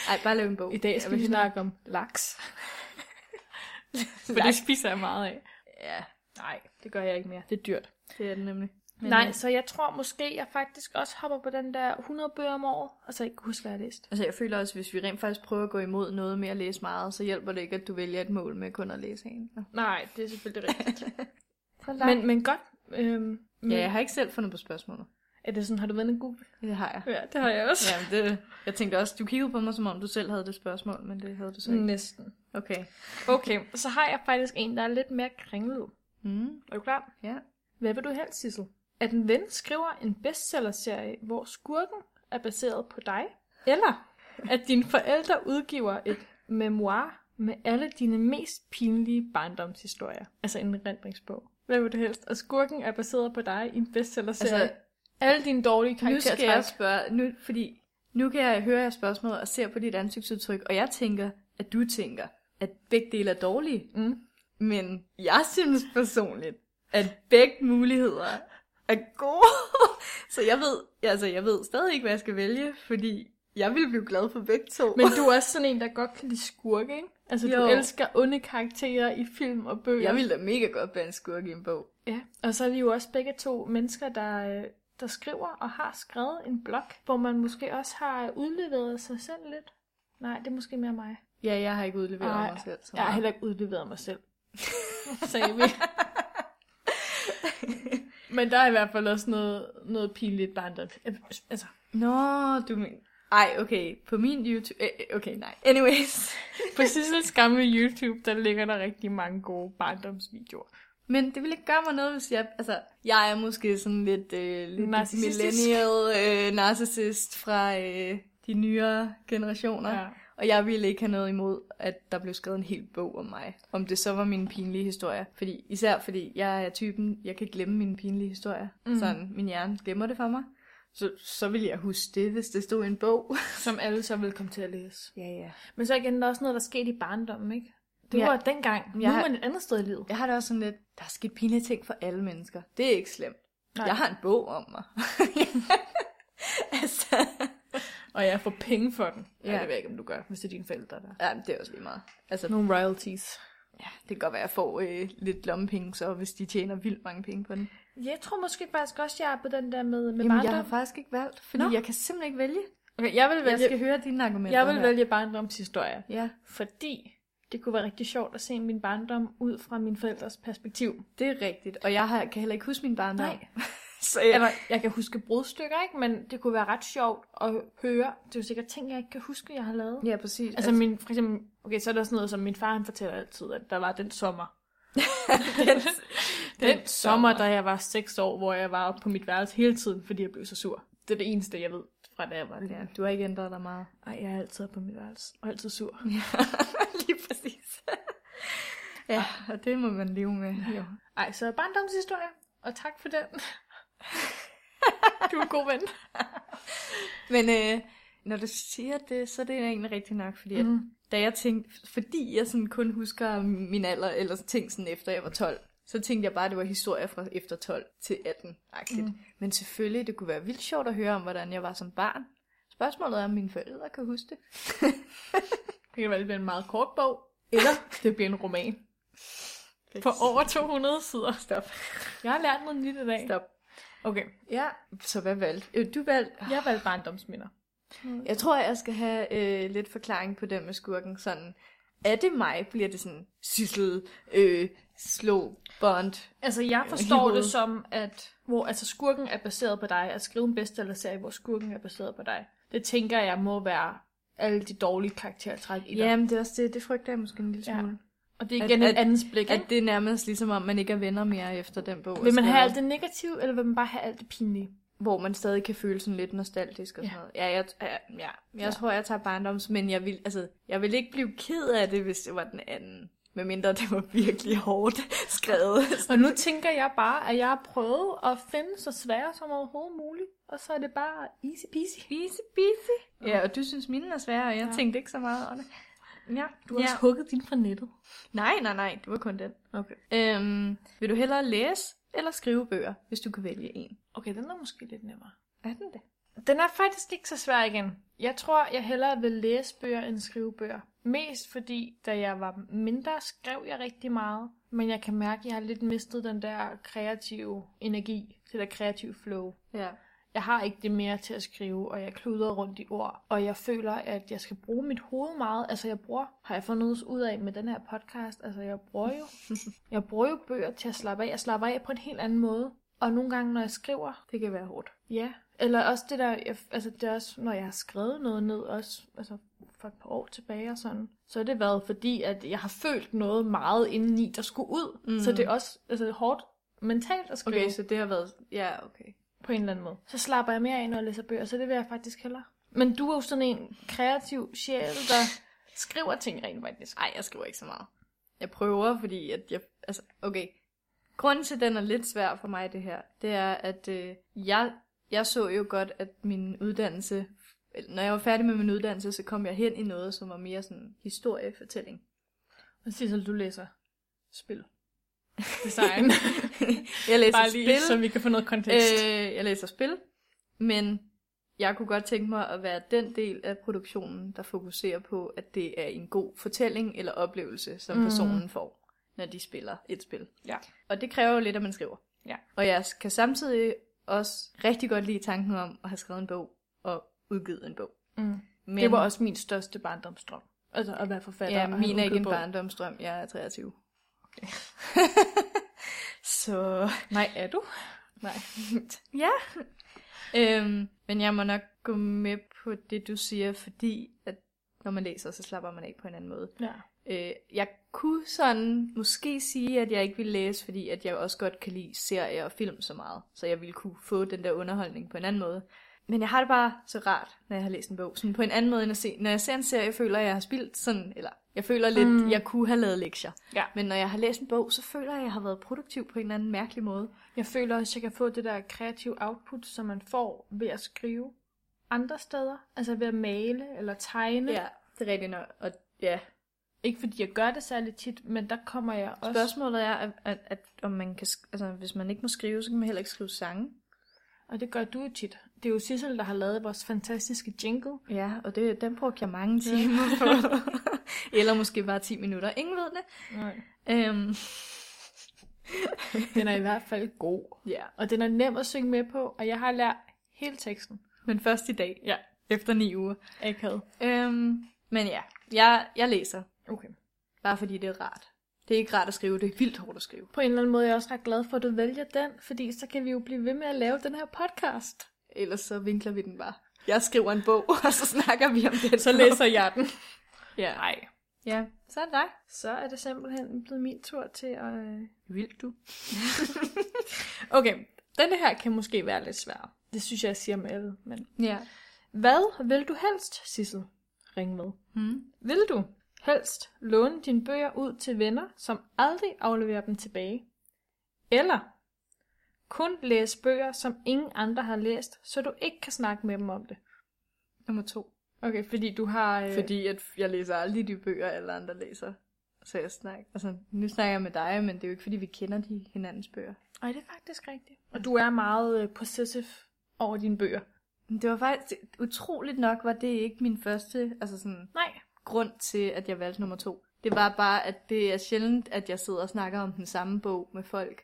Speaker 1: Ej, bare lav en bog.
Speaker 2: I dag skal vi snakke om laks. For det spiser jeg meget af.
Speaker 1: Ja,
Speaker 2: Nej, det gør jeg ikke mere. Det er dyrt.
Speaker 1: det er den nemlig.
Speaker 2: Men, øh, Nej, så jeg tror måske, jeg faktisk også hopper på den der 100 bøger om året, og så ikke kan huske, hvad jeg har læst.
Speaker 1: Altså, jeg føler også, hvis vi rent faktisk prøver at gå imod noget med at læse meget, så hjælper det ikke, at du vælger et mål med kun at læse en.
Speaker 2: Nej, det er selvfølgelig rigtigt.
Speaker 1: Så
Speaker 2: men, men godt. Øhm, men,
Speaker 1: ja, jeg har ikke selv fundet på spørgsmålet.
Speaker 2: Er det sådan, har du været en Google?
Speaker 1: Det har jeg.
Speaker 2: Ja, det har jeg også.
Speaker 1: Jamen, det, jeg tænkte også, du kiggede på mig, som om du selv havde det spørgsmål, men det havde du så
Speaker 2: Ja.
Speaker 1: ikke.
Speaker 2: Næsten.
Speaker 1: Okay.
Speaker 2: Mm. Okay, så har jeg faktisk en, der er lidt mere kringlet.
Speaker 1: Mm,
Speaker 2: Er du klar?
Speaker 1: ja.
Speaker 2: Hvad vil du helst, Sissel? At en ven skriver en bestsellerserie, hvor skurken er baseret på dig? Eller at dine forældre udgiver et memoir med alle dine mest pinlige barndomshistorier? Altså en erindringsbog. Hvad vil du helst? At skurken er baseret på dig i en bestsellerserie?
Speaker 1: Altså,
Speaker 2: Altså, alle dine dårlige
Speaker 1: Nu skal
Speaker 2: karaktertræk?
Speaker 1: jeg spørge, nu, fordi nu kan jeg høre jeres spørgsmål og se på dit ansigtsudtryk, og jeg tænker, at du tænker, at begge dele er dårlige.
Speaker 2: Mm.
Speaker 1: Men jeg synes personligt, at begge muligheder er gode. Så jeg ved, altså jeg ved stadig ikke, hvad jeg skal vælge, fordi jeg vil blive glad for begge to.
Speaker 2: Men du er også sådan en, der godt kan lide skurke, ikke? Altså, jo.
Speaker 1: Jo.
Speaker 2: du elsker onde karakterer i film og bøger.
Speaker 1: jeg vil da mega godt være en skurk i en bog.
Speaker 2: Ja, og så er vi jo også begge to mennesker, der, øh, der skriver og har skrevet en blog, hvor man måske også har udleveret sig selv lidt. Nej, det er måske mere mig.
Speaker 1: Ja, jeg har ikke udleveret
Speaker 2: Ej,
Speaker 1: mig selv. Så
Speaker 2: Jeg har
Speaker 1: meget.
Speaker 2: heller ikke udleveret mig selv. Sagde vi. Men der er i hvert fald også noget, noget pinligt barndom. Altså,
Speaker 1: Nå, du men... Ej, okay, på min YouTube... øh, øh, Okay, nej. Anyways.
Speaker 2: på Sissels gamle YouTube, der ligger der rigtig mange gode barndomsvideoer.
Speaker 1: Men det ville ikke gøre mig noget, hvis jeg... Altså, jeg er måske sådan lidt, øh, lidt
Speaker 2: Narcissistisk.
Speaker 1: millennial øh, narcissist fra øh, de nyere generationer. Ja. Og jeg ville ikke have noget imod, at der blev skrevet en hel bog om mig. Om det så var mine pinlige historier. Fordi, Mhm. især fordi jeg er typen, jeg kan glemme mine pinlige historier. Mm. Sådan, min hjerne glemmer det for mig. Så, så ville jeg huske det, hvis det stod i en bog.
Speaker 2: som alle så vil komme til at læse.
Speaker 1: Ja, ja.
Speaker 2: Men så igen, der er også noget, der skete i barndommen, ikke? Det
Speaker 1: Ja.
Speaker 2: ja. var dengang. Nu
Speaker 1: Jeg
Speaker 2: er
Speaker 1: har-
Speaker 2: man et andet sted i livet.
Speaker 1: Jeg har det også sådan lidt, der er sket pinlige ting for alle mennesker. Det er ikke slemt. Nej.
Speaker 2: Nej.
Speaker 1: Jeg har en bog om mig. altså,
Speaker 2: Og jeg får penge for den. Ja.
Speaker 1: Ja.
Speaker 2: ja. det ved jeg ikke, om du gør, hvis det er dine forældre, der
Speaker 1: ja, men det er også lige meget. Altså,
Speaker 2: Nogle royalties.
Speaker 1: ja, det kan godt være, at jeg får øh, lidt lommepenge, så hvis de tjener vildt mange penge på den.
Speaker 2: Jeg tror måske faktisk også, jeg er på den der med, med
Speaker 1: Jamen,
Speaker 2: barndom.
Speaker 1: jeg har faktisk ikke valgt, fordi Nå.
Speaker 2: Nå.
Speaker 1: jeg kan simpelthen ikke vælge.
Speaker 2: Okay, jeg vil
Speaker 1: Jeg
Speaker 2: vælge,
Speaker 1: skal høre dine argumenter
Speaker 2: jeg vil
Speaker 1: her.
Speaker 2: vælge barndomshistorier,
Speaker 1: Ja,
Speaker 2: fordi det kunne være rigtig sjovt at se min barndom ud fra min forældres perspektiv.
Speaker 1: det er rigtigt. Og jeg har, kan heller ikke huske min barndom. så jeg,
Speaker 2: Eller, jeg kan huske brudstykker, ikke? men det kunne være ret sjovt at høre. Det er jo sikkert ting, jeg ikke kan huske, jeg har lavet.
Speaker 1: ja, præcis.
Speaker 2: Altså min, for eksempel, okay, så er der sådan noget, som min far han fortæller altid, at der var den sommer.
Speaker 1: den,
Speaker 2: Den sommer, da jeg var seks år, hvor jeg var oppe på mit værelse hele tiden, fordi jeg blev så sur. Det er det eneste, jeg ved fra da jeg var lille.
Speaker 1: Ja, du har ikke ændret dig meget.
Speaker 2: Ej, jeg er altid oppe på mit værelse, og altid sur.
Speaker 1: Lige præcis. ja, og det må man leve med. Jo.
Speaker 2: Ej, så barndomshistorie, og tak for den. du er en god ven.
Speaker 1: Men øh, når du siger det, så er det egentlig rigtigt nok, fordi mm. at,
Speaker 2: Mm.
Speaker 1: da jeg tænkte, fordi jeg sådan kun husker min alder, eller ting sådan efter jeg var 12, så tænkte jeg bare, at det var historier fra efter 12 til 18 -agtigt. Mm. Men selvfølgelig, det kunne være vildt sjovt at høre om, hvordan jeg var som barn. Spørgsmålet er, om mine forældre kan huske det.
Speaker 2: Det kan være, det bliver en meget kort bog, eller det bliver en roman. På over 200 sider. Stop. Jeg har lært noget nyt i dag.
Speaker 1: Stop.
Speaker 2: Okay,
Speaker 1: Ja, så hvad valgte øh, du? valgte...
Speaker 2: jeg valgte barndomsminder.
Speaker 1: Jeg tror, jeg skal have øh, lidt forklaring på det med skurken. Sådan, er det mig? Bliver det sådan, syssel, øh, slå, bond?
Speaker 2: Altså, jeg forstår det som, at hvor altså, skurken er baseret på dig, at skrive en bestsellerserie, hvor skurken er baseret på dig. Det tænker jeg må være alle de dårlige karaktertræk i dig.
Speaker 1: Jamen, det er også det, det frygter jeg måske en lille
Speaker 2: Ja.
Speaker 1: smule.
Speaker 2: Og det er
Speaker 1: At-
Speaker 2: igen at,
Speaker 1: at-
Speaker 2: en andens blik,
Speaker 1: Ja. At
Speaker 2: ikke?
Speaker 1: det er nærmest ligesom om, man ikke er venner mere efter den bog.
Speaker 2: Vil man
Speaker 1: er
Speaker 2: have alt
Speaker 1: skrevet,
Speaker 2: det negative, eller vil man bare have alt det pinlige?
Speaker 1: Hvor man stadig kan føle sådan lidt nostalgisk og sådan
Speaker 2: Ja.
Speaker 1: noget. Ja, jeg, ja, ja. jeg
Speaker 2: Ja.
Speaker 1: tror, jeg tager barndoms, men jeg vil, altså, jeg vil ikke blive ked af det, hvis det var den anden. Medmindre det var virkelig hårdt skrevet.
Speaker 2: Og nu tænker jeg bare, at jeg har prøvet at finde så svære som overhovedet muligt, og så er det bare easy peasy.
Speaker 1: Easy peasy. Ja, og du synes, mine er svære, og jeg ja.
Speaker 2: Ja.
Speaker 1: tænkte ikke så meget over det. Ja,
Speaker 2: Du har ja. også hugget din fra nettet.
Speaker 1: Nej, nej, nej, det var kun den.
Speaker 2: Okay.
Speaker 1: Øhm, vil du hellere læse eller skrive bøger, hvis du kan vælge en?
Speaker 2: Okay, den er måske lidt nemmere.
Speaker 1: Er den det?
Speaker 2: Den er faktisk ikke så svær igen. Jeg tror, jeg hellere vil læse bøger end skrive bøger. Mest fordi, da jeg var mindre, skrev jeg rigtig meget. Men jeg kan mærke, at jeg har lidt mistet den der kreative energi, det der kreative flow.
Speaker 1: Ja.
Speaker 2: Jeg har ikke det mere til at skrive, og jeg kluder rundt i ord. Og jeg føler, at jeg skal bruge mit hoved meget. Altså jeg bruger, har jeg fundet ud af med den her podcast, altså jeg bruger jo, jeg bruger jo bøger til at slappe af. Jeg slapper af på en helt anden måde. Og nogle gange, når jeg skriver,
Speaker 1: Det kan være hårdt.
Speaker 2: Ja, eller også det der, jeg, altså det er også, når jeg har skrevet noget ned, også altså for et par år tilbage og sådan, så har det været fordi, at jeg har følt noget meget indeni, der skulle ud.
Speaker 1: Mhm.
Speaker 2: Mm. Så det er også altså, hårdt mentalt at skrive
Speaker 1: Okay,
Speaker 2: okay.
Speaker 1: så det har været... Ja, okay.
Speaker 2: på en eller anden måde. Så slapper jeg mere af, når jeg læser bøger, så det vil jeg faktisk hellere. Men du er jo sådan en kreativ sjæl, der skriver ting rent faktisk.
Speaker 1: Nej, jeg skriver ikke så meget. Jeg prøver, fordi at jeg... Altså, okay. Grunden til, at den er lidt svær for mig, det her, det er, at øh, jeg, jeg så jo godt, at min uddannelse... eller Når jeg var færdig med min uddannelse, så kom jeg hen i noget, som var mere sådan historiefortælling.
Speaker 2: Og Sissel, du læser spil. Design.
Speaker 1: Jeg læser
Speaker 2: Bare lige,
Speaker 1: spil.
Speaker 2: så vi kan få noget kontekst. Øh,
Speaker 1: Øh, jeg læser spil, men jeg kunne godt tænke mig at være den del af produktionen, der fokuserer på, at det er en god fortælling eller oplevelse, som mm.
Speaker 2: Mm.
Speaker 1: personen får, når de spiller et spil.
Speaker 2: Ja.
Speaker 1: Og det kræver jo lidt, at man skriver.
Speaker 2: Ja.
Speaker 1: Og jeg kan samtidig også rigtig godt lide tanken om at have skrevet en bog og udgivet en bog.
Speaker 2: mm.
Speaker 1: Men,
Speaker 2: Det var også min største barndomsdrøm. Altså at være forfatter.
Speaker 1: Ja,
Speaker 2: og have
Speaker 1: min er ikke en
Speaker 2: udgivet bog.
Speaker 1: barndomsdrøm. Jeg er 23. Okay. Så...
Speaker 2: Nej, er du?
Speaker 1: Nej. ja. Øhm, men jeg må nok gå med på det, du siger, fordi at når man læser, så slapper man af på en anden måde.
Speaker 2: Ja.
Speaker 1: Øh, jeg kunne sådan måske sige, at jeg ikke ville læse, fordi at jeg også godt kan lide serier og film så meget, så jeg ville kunne få den der underholdning på en anden måde. Men jeg har det bare så rart, når jeg har læst en bog. Sådan på en anden måde end at se. Når jeg ser en serie, føler jeg, at jeg har spildt sådan, eller Jeg føler lidt,
Speaker 2: Mm.
Speaker 1: mm. jeg kunne have lavet lektier.
Speaker 2: Ja.
Speaker 1: Men når jeg har læst en bog, så føler jeg, at jeg har været produktiv på en eller anden mærkelig måde.
Speaker 2: Jeg føler også, at jeg kan få det der kreative output, som man får ved at skrive andre steder. Altså ved at male eller tegne.
Speaker 1: Ja, det er rigtigt nok. Og ja,
Speaker 2: Ikke fordi jeg gør det særlig tit, men der kommer jeg også...
Speaker 1: spørgsmålet er, at, at, at om man kan, sk- altså, hvis man ikke må skrive, så kan man heller ikke skrive sange.
Speaker 2: Og det gør du jo tit. Det er jo Sissel, der har lavet vores fantastiske jingle.
Speaker 1: Ja, og det, den brugte jeg mange timer på. eller måske bare 10 minutter. Ingen ved det.
Speaker 2: Nej.
Speaker 1: Øhm,
Speaker 2: Den er i hvert fald god.
Speaker 1: ja.
Speaker 2: Og den er nem at synge med på, og jeg har lært hele teksten.
Speaker 1: Men først i dag.
Speaker 2: Ja.
Speaker 1: Efter ni uger.
Speaker 2: Akad.
Speaker 1: Øhm, men ja, jeg, jeg læser.
Speaker 2: Okay.
Speaker 1: Bare fordi det er rart. Det er ikke rart at skrive, det er vildt hårdt at skrive.
Speaker 2: På en eller anden måde er jeg også ret glad for, at du vælger den, fordi så kan vi jo blive ved med at lave den her podcast.
Speaker 1: Ellers så vinkler vi den bare. Jeg skriver en bog, og så snakker vi om det.
Speaker 2: jeg den.
Speaker 1: Ja.
Speaker 2: Nej.
Speaker 1: Ja, så er det dig.
Speaker 2: Så er det simpelthen blevet min tur til at... øh,
Speaker 1: Vildt du.
Speaker 2: Okay, denne her kan måske være lidt svær. Det synes jeg, jeg siger med alle. Men...
Speaker 1: Ja.
Speaker 2: Hvad vil du helst, Sissel? Ring med.
Speaker 1: Hmm.
Speaker 2: Vil du helst låne dine bøger ud til venner, som aldrig afleverer dem tilbage? Eller kun læse bøger, som ingen andre har læst, så du ikke kan snakke med dem om det?
Speaker 1: Nummer to.
Speaker 2: Okay, fordi du har... Øh...
Speaker 1: Fordi at jeg læser aldrig de bøger, alle andre læser. Så jeg snakker. Altså, nu snakker jeg med dig, men det er jo ikke, fordi vi kender de hinandens bøger.
Speaker 2: Ej, det er faktisk rigtigt. Og du er meget øh, possessive over dine bøger.
Speaker 1: Men Det var faktisk... Utroligt nok var det ikke min første... Altså sådan...
Speaker 2: Nej.
Speaker 1: grund til, at jeg valgte nummer to. Det var bare, at det er sjældent, at jeg sidder og snakker om den samme bog med folk.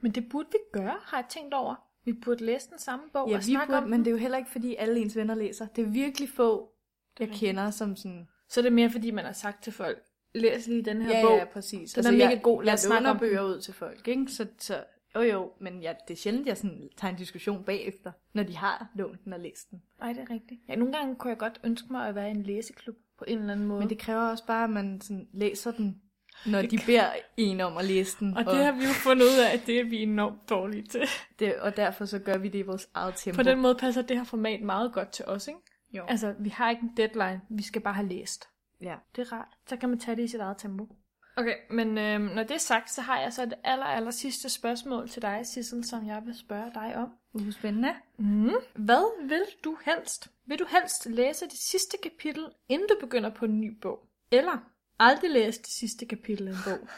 Speaker 2: Men det burde vi gøre, har jeg tænkt over. Vi burde læse den samme bog
Speaker 1: Ja,
Speaker 2: og
Speaker 1: vi
Speaker 2: snakke
Speaker 1: burde,
Speaker 2: om
Speaker 1: men
Speaker 2: den.
Speaker 1: det er jo heller ikke, fordi alle ens venner læser. Det er virkelig få, jeg
Speaker 2: rigtigt.
Speaker 1: kender, som sådan...
Speaker 2: Så er det mere, fordi man har sagt til folk, læs lige den her
Speaker 1: Ja,
Speaker 2: bog.
Speaker 1: ja, præcis. Altså,
Speaker 2: Den er mega
Speaker 1: jeg,
Speaker 2: god, lad
Speaker 1: Jeg
Speaker 2: os snakke om
Speaker 1: låner bøger ud til folk, ikke? Så, så jo jo, men jeg, det er sjældent, jeg sådan tager en diskussion bagefter, når de har lånt den og læst den.
Speaker 2: Nej, det er rigtigt. Ja, nogle gange kunne jeg godt ønske mig at være i en læseklub på en eller anden måde.
Speaker 1: Men det kræver også bare, at man sådan læser den, når
Speaker 2: Det
Speaker 1: de beder en om at læse den.
Speaker 2: og det har vi jo fundet ud af, at det er vi enormt dårlige til.
Speaker 1: det, og derfor så gør vi det i vores eget tempo.
Speaker 2: På den måde passer det her format meget godt til os, ikke?
Speaker 1: jo.
Speaker 2: Altså, vi har ikke en deadline, vi skal bare have læst.
Speaker 1: ja.
Speaker 2: Det er rart. Så kan man tage det i sit eget tempo. Okay, men øhm, når det er sagt, så har jeg så det aller, aller sidste spørgsmål til dig, Sissel, som jeg vil spørge dig om.
Speaker 1: Uh, spændende.
Speaker 2: Mm. Hvad vil du helst? Vil du helst læse det sidste kapitel, inden du begynder på en ny bog? Eller aldrig læse det sidste kapitel af en bog?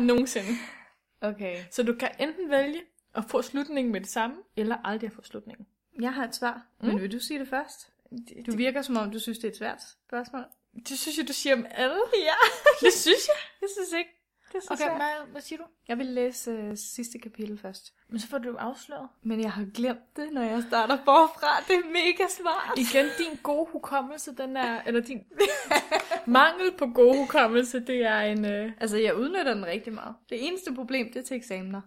Speaker 2: Nogensinde.
Speaker 1: Okay.
Speaker 2: Så du kan enten vælge at få slutningen med det samme, eller aldrig at få slutningen.
Speaker 1: Jeg har et svar, mm. men vil du sige det først?
Speaker 2: Det,
Speaker 1: Du virker som om, du synes, det er et svært spørgsmål.
Speaker 2: det synes jeg, du siger om alle.
Speaker 1: Ja,
Speaker 2: Det synes jeg.
Speaker 1: jeg synes ikke. Det er så okay,
Speaker 2: Okay,
Speaker 1: svært.
Speaker 2: Maja, hvad siger du?
Speaker 1: Jeg vil læse øh, sidste kapitel først.
Speaker 2: Men så får du jo afsløret.
Speaker 1: Men jeg har glemt det, når jeg starter forfra. Det er mega smart.
Speaker 2: Igen, din gode hukommelse, den er... Eller din mangel på god hukommelse, det er en... Øh...
Speaker 1: Altså, jeg udnytter den rigtig meget. Det eneste problem, det er til eksamener.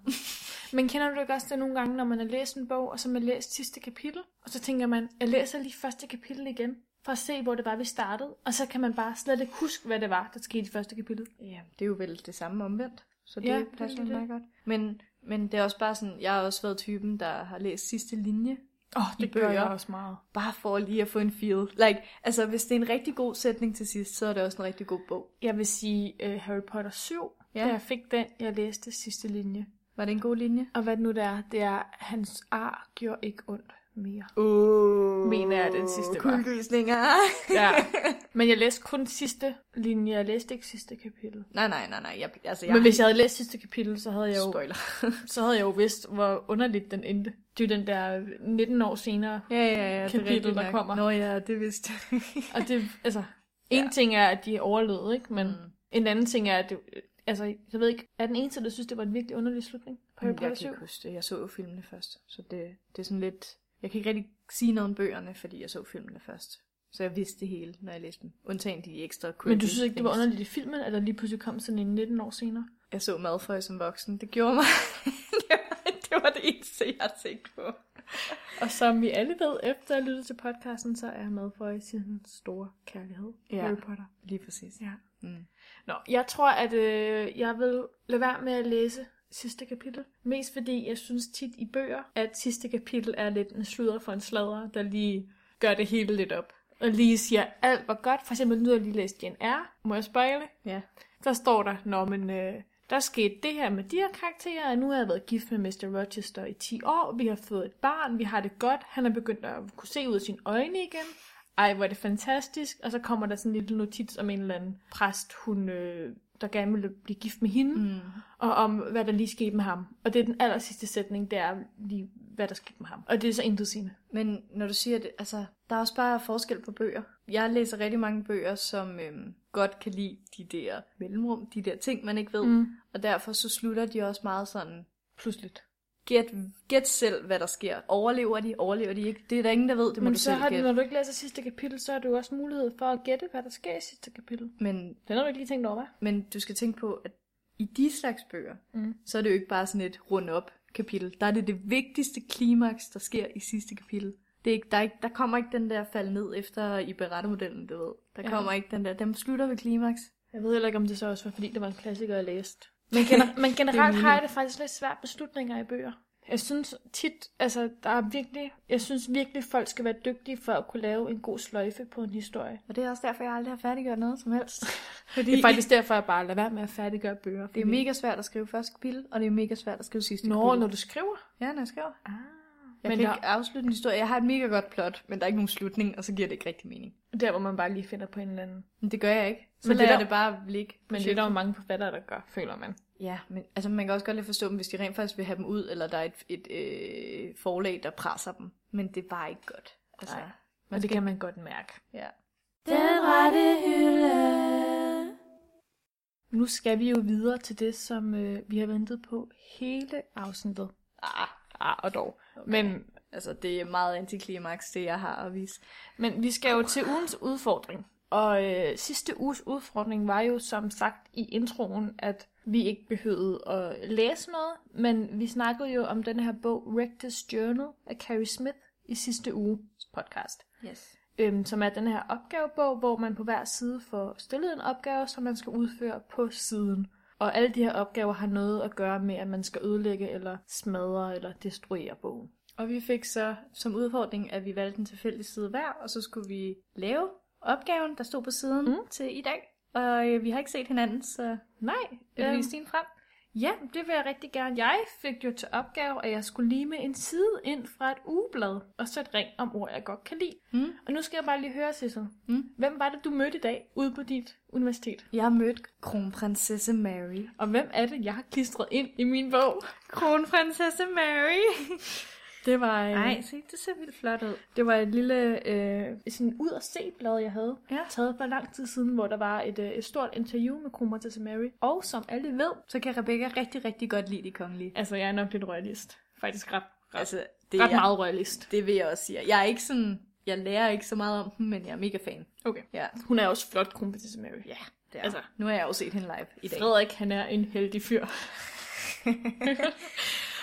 Speaker 2: Men kender du ikke også det nogle gange, når man har læst en bog, og så har man læst sidste kapitel, og så tænker man, jeg læser lige første kapitel igen, for at se, hvor det var, vi startede, og så kan man bare slet ikke huske, hvad det var, der skete i første kapitel.
Speaker 1: Ja, det er jo vel det samme omvendt. Så det
Speaker 2: Ja,
Speaker 1: ja,
Speaker 2: det er
Speaker 1: passer
Speaker 2: lige det.
Speaker 1: meget godt. Men, men det er også bare sådan, jeg har også været typen, der har læst sidste linje
Speaker 2: Åh, oh,
Speaker 1: det gør jeg
Speaker 2: også meget.
Speaker 1: bare for lige at få en feel. Like, altså, hvis det er en rigtig god sætning til sidst, så er det også en rigtig god bog.
Speaker 2: Jeg vil sige uh, Harry Potter 7, ja.
Speaker 1: Ja.
Speaker 2: da jeg fik den, jeg læste sidste linje.
Speaker 1: Var det en god linje?
Speaker 2: Og hvad det nu det er, det er, hans ar gjorde ikke ondt mere.
Speaker 1: Uh,
Speaker 2: Mener jeg, den sidste var.
Speaker 1: Kuldgysninger.
Speaker 2: Ja. Men jeg læste kun sidste linje, jeg læste ikke sidste kapitel.
Speaker 1: nej, nej, nej, nej. Jeg, altså, jeg
Speaker 2: Men hvis jeg havde læst sidste kapitel, så havde jeg jo
Speaker 1: Spoiler.
Speaker 2: så havde jeg jo vidst, hvor underligt den endte. Det er jo den der 19 år senere.
Speaker 1: ja, ja, ja. det er
Speaker 2: Kapitel,
Speaker 1: rigtigt
Speaker 2: der
Speaker 1: nok.
Speaker 2: kommer.
Speaker 1: Nå ja, det vidste jeg.
Speaker 2: Og det, altså, en
Speaker 1: Ja.
Speaker 2: ting er, at de overlevede, ikke? Men mm.
Speaker 1: Mm.
Speaker 2: en anden ting er, at det, altså, jeg ved ikke, er den eneste, der synes, det var en virkelig underlig slutning på Harry Potter
Speaker 1: Mm, jeg
Speaker 2: 7?
Speaker 1: kan ikke huske det. Jeg så jo filmene først. Så det, det er sådan lidt... Jeg kan ikke rigtig sige noget om bøgerne, fordi jeg så filmene først. Så jeg vidste det hele, når jeg læste dem. Undtagen de ekstra creepy
Speaker 2: Men du synes ikke, det var
Speaker 1: things.
Speaker 2: underligt i filmen, at der lige pludselig kom sådan en 19 år senere?
Speaker 1: Jeg så Malfoy som voksen. Det gjorde mig... det, var, det var det eneste, jeg tænkte på.
Speaker 2: Og som vi alle ved, efter at have lyttet til podcasten, så er Malfoy sin store kærlighed.
Speaker 1: Ja.
Speaker 2: Harry Potter.
Speaker 1: Lige præcis.
Speaker 2: Ja.
Speaker 1: Mm.
Speaker 2: Nå, jeg tror, at øh, jeg vil lade være med at læse sidste kapitel. Mest fordi jeg synes tit i bøger, at sidste kapitel er lidt en sludder for en sladder, der lige gør det hele lidt op. og lige siger alt hvor godt. For eksempel nu har jeg lige læst Jane R. Må jeg spejle?
Speaker 1: Ja.
Speaker 2: Så står der, når men øh, der skete det her med de her karakterer, og nu har jeg været gift med Mr. Rochester i 10 år, vi har fået et barn, vi har det godt, han er begyndt at kunne se ud af sine øjne igen. Ej, hvor er det fantastisk. Og så kommer der sådan en lille notits om en eller anden præst, hun, øh, der gerne ville blive gift med hende,
Speaker 1: Hmm.
Speaker 2: mm. og om hvad der lige skete med ham. Og det er den aller sidste sætning, det er lige, hvad der skete med ham. Og det er så intet sine.
Speaker 1: Men når du siger det, altså, der er også bare forskel på bøger. Jeg læser rigtig mange bøger, som øhm, godt kan lide de der mellemrum, de der ting, man ikke ved. Mm. Og derfor så slutter de også meget sådan,
Speaker 2: Pludseligt.
Speaker 1: gæt, gæt selv, hvad der sker. Overlever de, overlever de ikke? Det er der ingen, der ved, det må
Speaker 2: Men
Speaker 1: du
Speaker 2: så
Speaker 1: selv
Speaker 2: har du,
Speaker 1: gætte.
Speaker 2: når du ikke læser sidste kapitel, så har du også mulighed for at gætte, hvad der sker i sidste kapitel.
Speaker 1: Men
Speaker 2: Den har du ikke lige tænkt over, hva'?
Speaker 1: Men du skal tænke på, at i de slags bøger,
Speaker 2: Mm.
Speaker 1: mm. så er det jo ikke bare sådan et rundt op kapitel. Der er det det vigtigste klimaks, der sker i sidste kapitel. Det er ikke, der, er ikke, der kommer ikke den der fald ned efter i berettermodellen, du ved. Der
Speaker 2: Ja.
Speaker 1: ja. kommer ikke den der, dem slutter ved klimaks.
Speaker 2: Jeg ved heller ikke, om det så også var, fordi det var en klassiker, jeg læste. Men, gener- men generelt har jeg det faktisk lidt svært med slutninger i bøger. Jeg synes tit, altså der er virkelig, jeg synes virkelig, folk skal være dygtige for at kunne lave en god sløjfe på en historie.
Speaker 1: Og det er også derfor, jeg aldrig har færdiggjort noget som helst. Fordi
Speaker 2: Det er faktisk derfor, jeg bare lader være med at færdiggøre bøger.
Speaker 1: det er mega svært at skrive første kapitel, og det er mega svært at skrive sidste
Speaker 2: Nå,
Speaker 1: kapitel.
Speaker 2: når du skriver.
Speaker 1: Ja, når jeg skriver.
Speaker 2: Ah.
Speaker 1: Jeg
Speaker 2: men
Speaker 1: men kan
Speaker 2: der,
Speaker 1: ikke afslutte en historie. Jeg har et mega godt plot, men der er ikke nogen slutning, og så giver det ikke rigtig mening.
Speaker 2: der, hvor man bare lige finder på en eller anden.
Speaker 1: Men det gør jeg ikke. Så
Speaker 2: Men
Speaker 1: men
Speaker 2: det
Speaker 1: lader
Speaker 2: er
Speaker 1: det,
Speaker 2: der-
Speaker 1: det bare ligge.
Speaker 2: Men det er der jo mange forfattere, der gør, føler man.
Speaker 1: Ja, men altså man kan også godt lidt forstå dem, hvis de rent faktisk vil have dem ud, eller der er et, et øh, forlag, der presser dem. Men det er bare ikke godt. Altså,
Speaker 2: Nej. Og det kan man godt mærke.
Speaker 1: Ja.
Speaker 2: Den rette hylde. Nu skal vi jo videre til det, som øh, vi har ventet på hele afsnittet. Ah, ah og dog. Okay. Men,
Speaker 1: Altså, det er meget antiklimaks, det jeg har at vise.
Speaker 2: men vi skal jo til ugens udfordring. Og øh, sidste uges udfordring var jo som sagt i introen, at vi ikke behøvede at læse noget, men vi snakkede jo om den her bog Rector's Journal af Carrie Smith i sidste uges podcast.
Speaker 1: Yes.
Speaker 2: øhm, som er den her opgavebog, hvor man på hver side får stillet en opgave, som man skal udføre på siden. Og alle de her opgaver har noget at gøre med, at man skal ødelægge eller smadre eller destruere bogen.
Speaker 1: Og vi fik så som udfordring, at vi valgte en tilfældig side hver, og så skulle vi lave opgaven, der stod på siden
Speaker 2: Mm.
Speaker 1: mm. til i dag. Og øh, vi har ikke set hinanden, så
Speaker 2: Nej,
Speaker 1: vil du
Speaker 2: øhm,
Speaker 1: vise din frem?
Speaker 2: ja, det vil jeg rigtig gerne. Jeg fik jo til opgave, at jeg skulle lime en side ind fra et ugeblad, og så et ring om ord, jeg godt kan lide.
Speaker 1: Mm.
Speaker 2: Og nu skal jeg bare lige høre, Sissel.
Speaker 1: Mm.
Speaker 2: Hvem var det, du mødte i dag ude på dit universitet?
Speaker 1: Jeg mødte kronprinsesse Mary.
Speaker 2: Og hvem er det, jeg har klistret ind i min bog?
Speaker 1: Kronprinsesse Mary!
Speaker 2: Det var... øh,
Speaker 1: Nej, se, det ser vildt flot ud.
Speaker 2: Det var et lille øh, sådan ud og se blad, jeg havde
Speaker 1: Ja.
Speaker 2: taget for lang tid siden, hvor der var et, øh, et stort interview med Kronprinsesse Mary. Og som alle ved,
Speaker 1: Så kan Rebecca rigtig, rigtig godt lide de kongelige.
Speaker 2: altså jeg er nok lidt royalist. Faktisk ret, ret, altså,
Speaker 1: det
Speaker 2: ret
Speaker 1: er,
Speaker 2: meget royalist.
Speaker 1: Det vil jeg også sige. Jeg er ikke sådan, jeg lærer ikke så meget om dem, men jeg er mega fan.
Speaker 2: Okay.
Speaker 1: Ja,
Speaker 2: Hun er også flot, Kronprinsesse Mary.
Speaker 1: ja det er.
Speaker 2: Altså.
Speaker 1: Altså. Nu har jeg jo set hende live i dag.
Speaker 2: Frederik, han er en heldig fyr.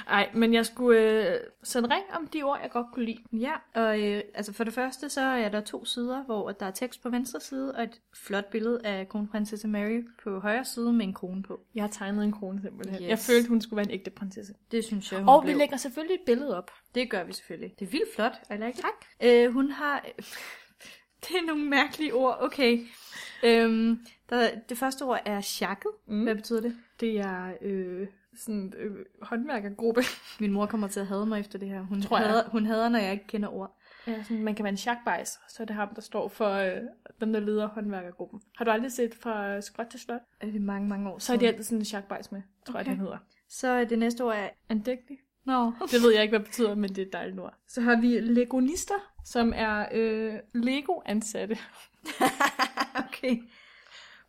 Speaker 2: Ej, men jeg skulle øh, sende ring om de ord, jeg godt kunne lide.
Speaker 1: Ja, og øh, altså for det første, så er der to sider, hvor der er tekst på venstre side, og et flot billede af kronprinsesse Mary på højre side med en krone på.
Speaker 2: Jeg har tegnet en krone simpelthen. Yes.
Speaker 1: Yes.
Speaker 2: Jeg følte, hun skulle være en ægte prinsesse.
Speaker 1: Det synes jeg, hun
Speaker 2: Og vi
Speaker 1: blev.
Speaker 2: lægger selvfølgelig et billede op.
Speaker 1: Det gør vi selvfølgelig. Det er vildt flot. I like tak. Øh, hun har... det er nogle mærkelige ord. Okay. Øhm, der, det første ord er sjakket.
Speaker 2: Mm.
Speaker 1: Mm. Hvad betyder det?
Speaker 2: Det er øh, sådan øh, håndværkergruppe.
Speaker 1: Min mor kommer til at hade mig efter det her. Hun,
Speaker 2: Tror jeg.
Speaker 1: hader, hun hader, når jeg ikke kender ord.
Speaker 2: Ja, sådan, man kan være en sjakbejs, så er det ham, der står for øh, dem, der leder håndværkergruppen. Har du aldrig set fra øh, skrot til slot?
Speaker 1: Er det mange, mange år
Speaker 2: Så er det altid sådan en sjakbejs med, tror okay.
Speaker 1: Okay.
Speaker 2: jeg, den hedder.
Speaker 1: Så er det næste ord er...
Speaker 2: Andægtig.
Speaker 1: Nå.
Speaker 2: Det ved jeg ikke, hvad det betyder, men det er et dejligt ord. Så har vi legonister, som er øh, Lego-ansatte.
Speaker 1: okay.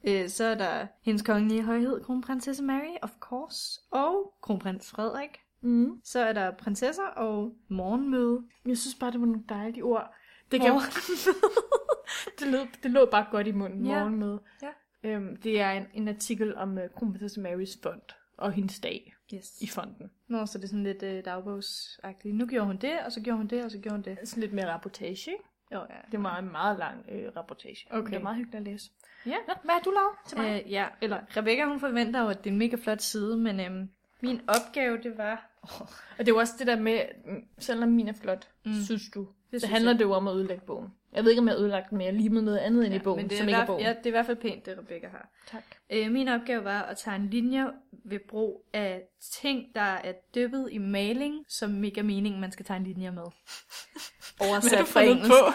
Speaker 1: Øh, så er der hendes kongelige højhed, kronprinsesse Mary, of course, og kronprins Frederik.
Speaker 2: Mm.
Speaker 1: Så er der prinsesser og morgenmøde.
Speaker 2: Jeg synes bare, det var nogle dejlige ord. Det, kan... det, lød, det lå bare godt i munden
Speaker 1: Ja.
Speaker 2: morgen med.
Speaker 1: Ja.
Speaker 2: Øhm, det er en, en artikel om øh, kronprinsesse Marys fond og hendes dag
Speaker 1: Yes.
Speaker 2: i fonden.
Speaker 1: Nå, så det er sådan lidt øh, dagbogsagtigt. Nu gjorde hun det, og så gjorde hun det, og så gjorde hun det.
Speaker 2: Sådan lidt mere rapportage, ikke?
Speaker 1: Jo, ja.
Speaker 2: Det var en meget lang øh, rapportage.
Speaker 1: Okay.
Speaker 2: Men Det var meget hyggeligt at læse.
Speaker 1: Ja.
Speaker 2: Nå, hvad har du lavet til mig? Øh,
Speaker 1: Øh, ja, eller Rebecca hun forventer jo, at det er en mega flot side, men øhm, min opgave det var... Oh,
Speaker 2: og det er jo også det der med, mm, selvom min er flot, mm.
Speaker 1: Mm.
Speaker 2: synes du,
Speaker 1: Det
Speaker 2: Så
Speaker 1: synes
Speaker 2: handler
Speaker 1: jeg.
Speaker 2: det jo om at ødelægge bogen. Jeg ved ikke, om jeg har ødelagt den, men jeg har limet noget andet ind i
Speaker 1: ja,
Speaker 2: bogen,
Speaker 1: men det er,
Speaker 2: som
Speaker 1: i
Speaker 2: ikke er
Speaker 1: hvert,
Speaker 2: bogen.
Speaker 1: ja, det er i hvert fald pænt, det Rebecca har.
Speaker 2: Tak.
Speaker 1: Øh, min opgave var at tage en linje ved brug af ting, der er dyppet i maling, som mega meningen, man skal tage en linje med. Oversat fra engelsk.
Speaker 2: på?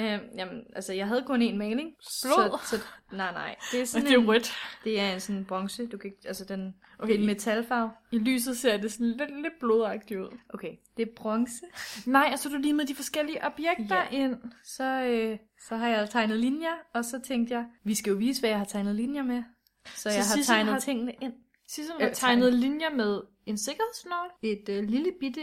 Speaker 1: Øh, jamen, altså, jeg havde kun én maling.
Speaker 2: Blod?
Speaker 1: Så, så, nej, nej. Det er
Speaker 2: Og
Speaker 1: sådan
Speaker 2: det er
Speaker 1: en,
Speaker 2: rødt.
Speaker 1: det er en sådan bronze. Du kan ikke, altså, den, okay.
Speaker 2: Okay,
Speaker 1: det er en metalfarve.
Speaker 2: I lyset ser det sådan lidt, lidt blodagtigt ud.
Speaker 1: Okay, det er bronze.
Speaker 2: Nej, og så er du lige med de forskellige objekter
Speaker 1: Ja.
Speaker 2: ja. ind.
Speaker 1: Så, øh, så har jeg tegnet linjer, og så tænkte jeg, vi skal jo vise, hvad jeg har tegnet linjer med. Så, så jeg har
Speaker 2: Sissel
Speaker 1: tegnet har...
Speaker 2: har-
Speaker 1: tingene ind.
Speaker 2: Sissel
Speaker 1: Øh,
Speaker 2: har tegnet linjer med en sikkerhedsnål, et øh, lille bitte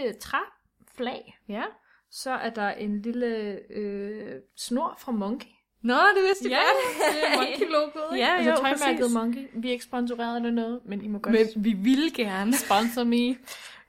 Speaker 2: træflag,
Speaker 1: Ja.
Speaker 2: så er der en lille øh, snor fra Monkey.
Speaker 1: Nå, det vidste jeg godt.
Speaker 2: det er Monkey-logoet, ikke?
Speaker 1: Ja,
Speaker 2: altså,
Speaker 1: jo,
Speaker 2: tøjmærket
Speaker 1: præcis.
Speaker 2: Monkey. Vi er ikke sponsoreret eller noget, men I må godt
Speaker 1: Men vi ville gerne.
Speaker 2: sponsor me.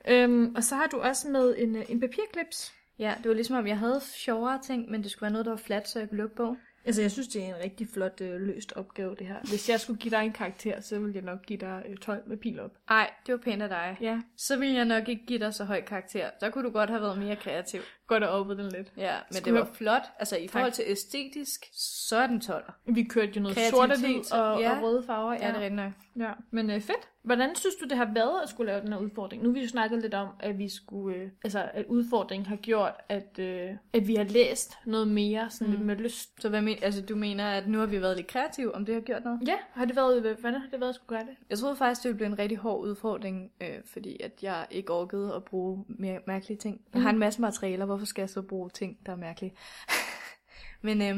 Speaker 2: øhm, og så har du også med en, øh, en papirklips.
Speaker 1: Ja, det var ligesom, om jeg havde sjovere ting, men det skulle være noget, der var fladt, så jeg kunne lukke bogen.
Speaker 2: Altså, jeg synes, det er en rigtig flot øh, løst opgave, det her. Hvis jeg skulle give dig en karakter, så ville jeg nok give dig øh, 12 med pil op.
Speaker 1: Ej, det var pænt af dig.
Speaker 2: Ja,
Speaker 1: Så ville jeg nok ikke give dig så høj karakter. Så kunne du godt have været mere kreativ.
Speaker 2: godt at oppe den lidt.
Speaker 1: Ja, men
Speaker 2: Skulle
Speaker 1: det var
Speaker 2: jeg-
Speaker 1: flot. Altså, i forhold til æstetisk, så er den toller.
Speaker 2: Vi kørte jo noget sort og
Speaker 1: Kreativitet,
Speaker 2: hvid og,
Speaker 1: ja.
Speaker 2: og røde farver.
Speaker 1: Ja, det er rigtigt nok.
Speaker 2: ja. Men øh, fedt. Hvordan synes du, det har været at skulle lave den her udfordring? Nu har vi jo snakket lidt om, at vi skulle, øh, altså, at udfordringen har gjort, at, øh, at vi har læst noget mere sådan mm. lidt med lyst.
Speaker 1: Så hvad men, altså, du mener, at nu har vi været lidt kreative, om det har gjort noget?
Speaker 2: Ja, har det været, øh, hvordan har det været at skulle gøre det?
Speaker 1: Jeg troede faktisk, det ville blive en rigtig hård udfordring, øh, fordi at jeg ikke orkede at bruge mere mærkelige ting. Jeg har en masse materialer, hvorfor skal jeg så bruge ting, der er mærkelige? men øh,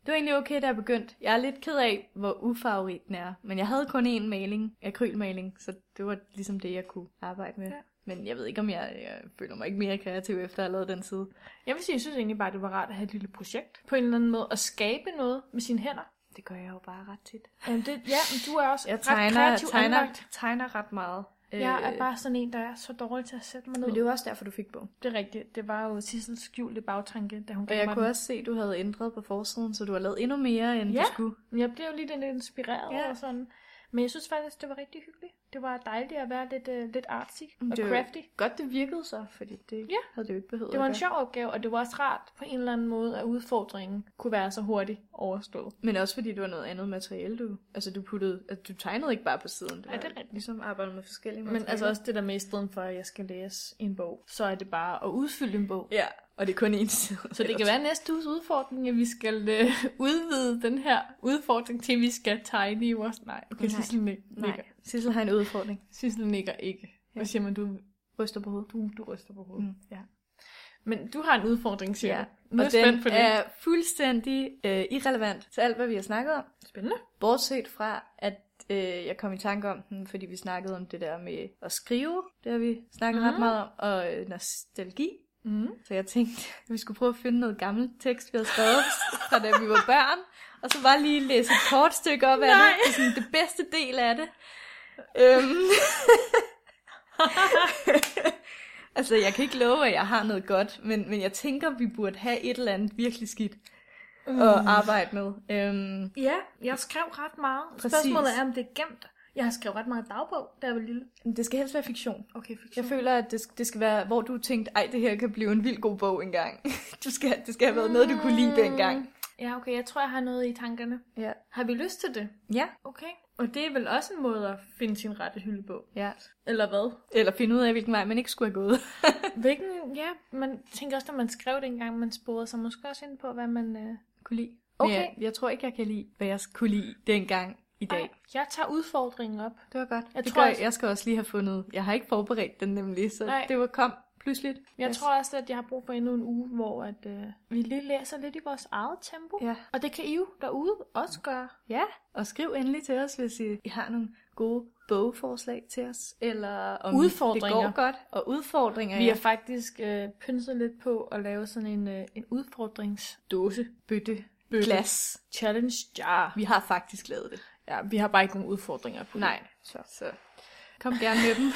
Speaker 1: det var egentlig okay, da jeg begyndte. Jeg er lidt ked af, hvor ufavorit den er, men jeg havde kun én maling, akrylmaling, så det var ligesom det, jeg kunne arbejde med. Ja.
Speaker 2: Ja.
Speaker 1: Men jeg ved ikke, om jeg, jeg føler mig ikke mere kreativ, efter at have lavet den side.
Speaker 2: Jeg vil sige, jeg synes egentlig bare, det var rart at have et lille projekt på en eller anden måde. At skabe noget med sine hænder.
Speaker 1: Det gør jeg jo bare ret tit.
Speaker 2: Jamen det, ja, men du er også
Speaker 1: Jeg
Speaker 2: ret
Speaker 1: tegner,
Speaker 2: kreativ
Speaker 1: tegner,
Speaker 2: anlagt.
Speaker 1: tegner ret meget. Øh,
Speaker 2: Jeg er bare sådan en, der er så dårlig til at sætte mig ned.
Speaker 1: men det er jo også derfor, du fik bogen.
Speaker 2: det er rigtigt. Det var jo Sissels skjulte bagtanke, da hun
Speaker 1: Og
Speaker 2: gav
Speaker 1: jeg
Speaker 2: mig
Speaker 1: kunne
Speaker 2: den.
Speaker 1: også se, at du havde ændret på forsiden, så du har lavet endnu mere, end ja. du
Speaker 2: Ja.
Speaker 1: skulle.
Speaker 2: Men Jeg blev jo lige lidt inspireret
Speaker 1: Ja.
Speaker 2: ja. og sådan. Men jeg synes faktisk, det var rigtig hyggeligt. Det var dejligt at være lidt, uh, lidt artsy og
Speaker 1: det var-
Speaker 2: crafty.
Speaker 1: Godt, det virkede så, fordi det ja.
Speaker 2: Ja.
Speaker 1: havde det jo ikke behøvet
Speaker 2: Det var
Speaker 1: at
Speaker 2: en
Speaker 1: gøre.
Speaker 2: sjov opgave, og det var også rart på en eller anden måde, at udfordringen kunne være så hurtigt overstået.
Speaker 1: Men også fordi det var noget andet materiale, du... Altså, du puttede... Altså, du tegnede ikke bare på siden.
Speaker 2: Ja, det er rigtigt.
Speaker 1: Ligesom arbejde med forskellige
Speaker 2: Men altså også det der med, i stedet for at jeg skal læse en bog, så er det bare at udfylde en bog.
Speaker 1: Ja, og det er kun én side.
Speaker 2: Så det kan være næste uges udfordring, at vi skal øh, udvide den her udfordring til, at vi skal tegne i vores... Nej, okay,
Speaker 1: Nej.
Speaker 2: Sissel nik- nikker.
Speaker 1: Nej, Sissel har en udfordring.
Speaker 2: Sissel nikker ikke. Hvad siger man? Du,
Speaker 1: Ryster på hovedet.
Speaker 2: du, du ryster på hovedet.
Speaker 1: Mm.
Speaker 2: Mm. Ja. Men du har en udfordring, siger
Speaker 1: Ja.
Speaker 2: du. Nu er
Speaker 1: og
Speaker 2: jeg spændt på
Speaker 1: den
Speaker 2: det.
Speaker 1: er fuldstændig øh, irrelevant til alt, hvad vi har snakket om.
Speaker 2: Spændende.
Speaker 1: Bortset fra, at øh, jeg kom i tanke om den, fordi vi snakkede om det der med at skrive. Det har vi snakket mm. ret
Speaker 2: Mhm.
Speaker 1: meget om. Og øh, nostalgi.
Speaker 2: Mm.
Speaker 1: Så jeg tænkte, at vi skulle prøve at finde noget gammel tekst, vi havde skrevet, fra da vi var børn. Og så bare lige læse et kort stykke op af det.
Speaker 2: Nej.
Speaker 1: Det er sådan det bedste del af det. Øhm. altså, jeg kan ikke love, at jeg har noget godt, men, men jeg tænker, vi burde have et eller andet virkelig skidt
Speaker 2: Mm.
Speaker 1: at arbejde med. Øhm,
Speaker 2: Ja, jeg skrev ret meget.
Speaker 1: Præcis.
Speaker 2: Spørgsmålet er, om det er gemt. Jeg har skrevet ret meget dagbog, da jeg var lille.
Speaker 1: det skal helst være fiktion.
Speaker 2: Okay,
Speaker 1: Jeg føler, at det, det skal være, hvor du tænkte, ej, det her kan blive en vild god bog engang. Du skal, det skal have været noget, du kunne lide dengang.
Speaker 2: Mm. Ja, okay, jeg tror, jeg har noget i tankerne.
Speaker 1: Ja.
Speaker 2: Har vi lyst til det?
Speaker 1: Ja.
Speaker 2: Okay. Og det er vel også en måde at finde sin rette hyldebog.
Speaker 1: Ja.
Speaker 2: Eller hvad?
Speaker 1: Eller finde ud af, hvilken vej man ikke skulle have gået.
Speaker 2: Hvilken, ja, man tænker også, når man skrev det engang, man sporede sig måske også ind på, hvad man øh, kunne lide.
Speaker 1: Okay.
Speaker 2: Okay.
Speaker 1: Jeg, jeg tror ikke, jeg kan lide, hvad jeg kunne lide dengang i dag.
Speaker 2: Ej, jeg tager udfordringen op.
Speaker 1: Det var godt. Jeg,
Speaker 2: Jeg
Speaker 1: det tror,
Speaker 2: tror
Speaker 1: gør, jeg...
Speaker 2: også-
Speaker 1: jeg skal også lige have fundet... Jeg har ikke forberedt den nemlig, så Nej.
Speaker 2: Nej.
Speaker 1: det var kom pludseligt.
Speaker 2: Jeg
Speaker 1: Yes.
Speaker 2: yes. tror også, at jeg har brug for endnu en uge, hvor at, øh, vi lige læser lidt i vores eget tempo.
Speaker 1: Ja.
Speaker 2: Og det kan I jo derude også gøre.
Speaker 1: ja, og skriv endelig til os, hvis I, I har nogle gode bogforslag til os, eller om
Speaker 2: Udfordringer.
Speaker 1: det går godt, og udfordringer.
Speaker 2: Vi
Speaker 1: ja.
Speaker 2: har faktisk øh, pynset lidt på at lave sådan en, øh, en udfordringsdåse.
Speaker 1: bøtte,
Speaker 2: Bøtte.
Speaker 1: glas.
Speaker 2: Challenge jar.
Speaker 1: Vi har faktisk lavet det.
Speaker 2: Ja, vi har bare ikke nogen udfordringer på
Speaker 1: Nej, så, så kom gerne med dem.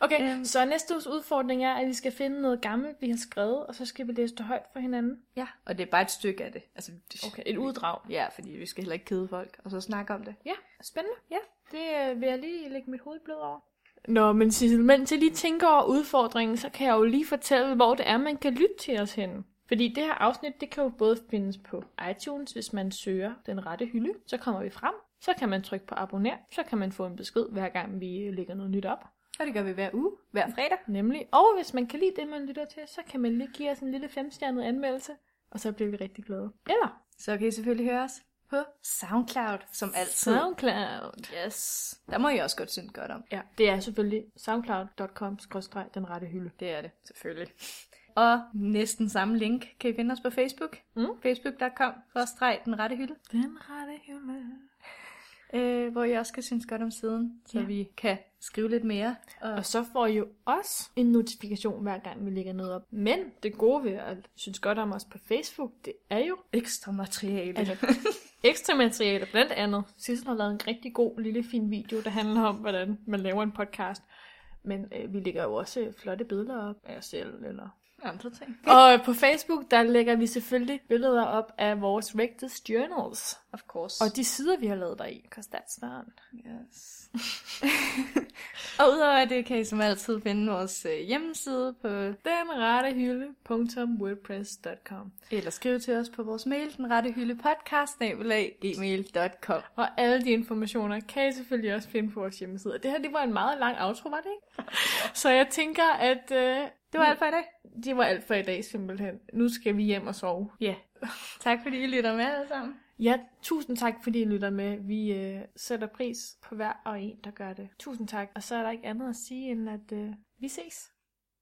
Speaker 2: Okay,
Speaker 1: Øhm.
Speaker 2: øhm. så næste uges udfordring er, at vi skal finde noget gammelt, vi har skrevet, og så skal vi læse det højt for hinanden.
Speaker 1: ja, og det er bare et stykke af det. Altså, det-
Speaker 2: Et uddrag.
Speaker 1: Ja, fordi vi skal heller ikke kede folk, og så snakke om det.
Speaker 2: Ja, spændende.
Speaker 1: Ja.
Speaker 2: Det øh, vil jeg lige lægge mit hoved blød over. Nå, men Sissel, mens jeg lige tænker over udfordringen, så kan jeg jo lige fortælle, hvor det er, man kan lytte til os henne. Fordi det her afsnit, det kan jo både findes på iTunes, hvis man søger den rette hylde, så kommer vi frem. Så kan man trykke på abonner, så kan man få en besked, hver gang vi øh, lægger noget nyt op.
Speaker 1: Og det gør vi hver uge, hver fredag.
Speaker 2: Nemlig. Og hvis man kan lide det, man lytter til, så kan man lige give os en lille femstjernet anmeldelse, og så bliver vi rigtig glade. Eller
Speaker 1: Så kan I selvfølgelig høre os på SoundCloud, som altid.
Speaker 2: SoundCloud.
Speaker 1: Yes. Der må I også godt synes godt om.
Speaker 2: Ja, det er selvfølgelig soundcloud.com den rette hylde.
Speaker 1: Det er det, selvfølgelig. Og næsten samme link kan I finde os på Facebook.
Speaker 2: Mm.
Speaker 1: Facebook.com, skråstreg den rette hylde.
Speaker 2: Den rette hylde.
Speaker 1: Øh, hvor I også kan synes godt om siden, så
Speaker 2: Ja.
Speaker 1: vi kan skrive lidt mere. Og
Speaker 2: Og så får I jo også en notifikation, hver gang vi lægger noget op. Men det gode ved at synes godt om os på Facebook, det er jo
Speaker 1: ekstra materiale.
Speaker 2: altså, ekstra materiale. Blandt andet, Sissel har lavet en rigtig god lille fin video, der handler om, hvordan man laver en podcast. Men øh, vi lægger jo også øh, flotte billeder op af os selv. Eller...
Speaker 1: Andre ting.
Speaker 2: Og øh, på Facebook, der lægger vi selvfølgelig billeder op af vores Rectus Journals.
Speaker 1: Of course.
Speaker 2: Og de sider, vi har lavet deri. Because that's fun.
Speaker 1: Yes. og udover det kan I som altid finde vores øh, hjemmeside på,
Speaker 2: Denrettehylde.wordpress.com
Speaker 1: eller skrive til os på vores mail, den rette hylde podcast, gmail.com.
Speaker 2: Og alle de informationer kan I selvfølgelig også finde på vores hjemmeside. Og Det her, det var en meget lang outro, var det ikke? Så jeg tænker, at øh,
Speaker 1: Det var alt for i dag.
Speaker 2: det var alt for i dag simpelthen. Nu skal vi hjem og sove.
Speaker 1: Ja. Yeah. tak fordi I lytter med alle sammen.
Speaker 2: Ja, tusind tak, fordi I lytter med. Vi øh, sætter pris på hver og en, der gør det. Tusind tak. Og så er der ikke andet at sige, end at øh, vi ses.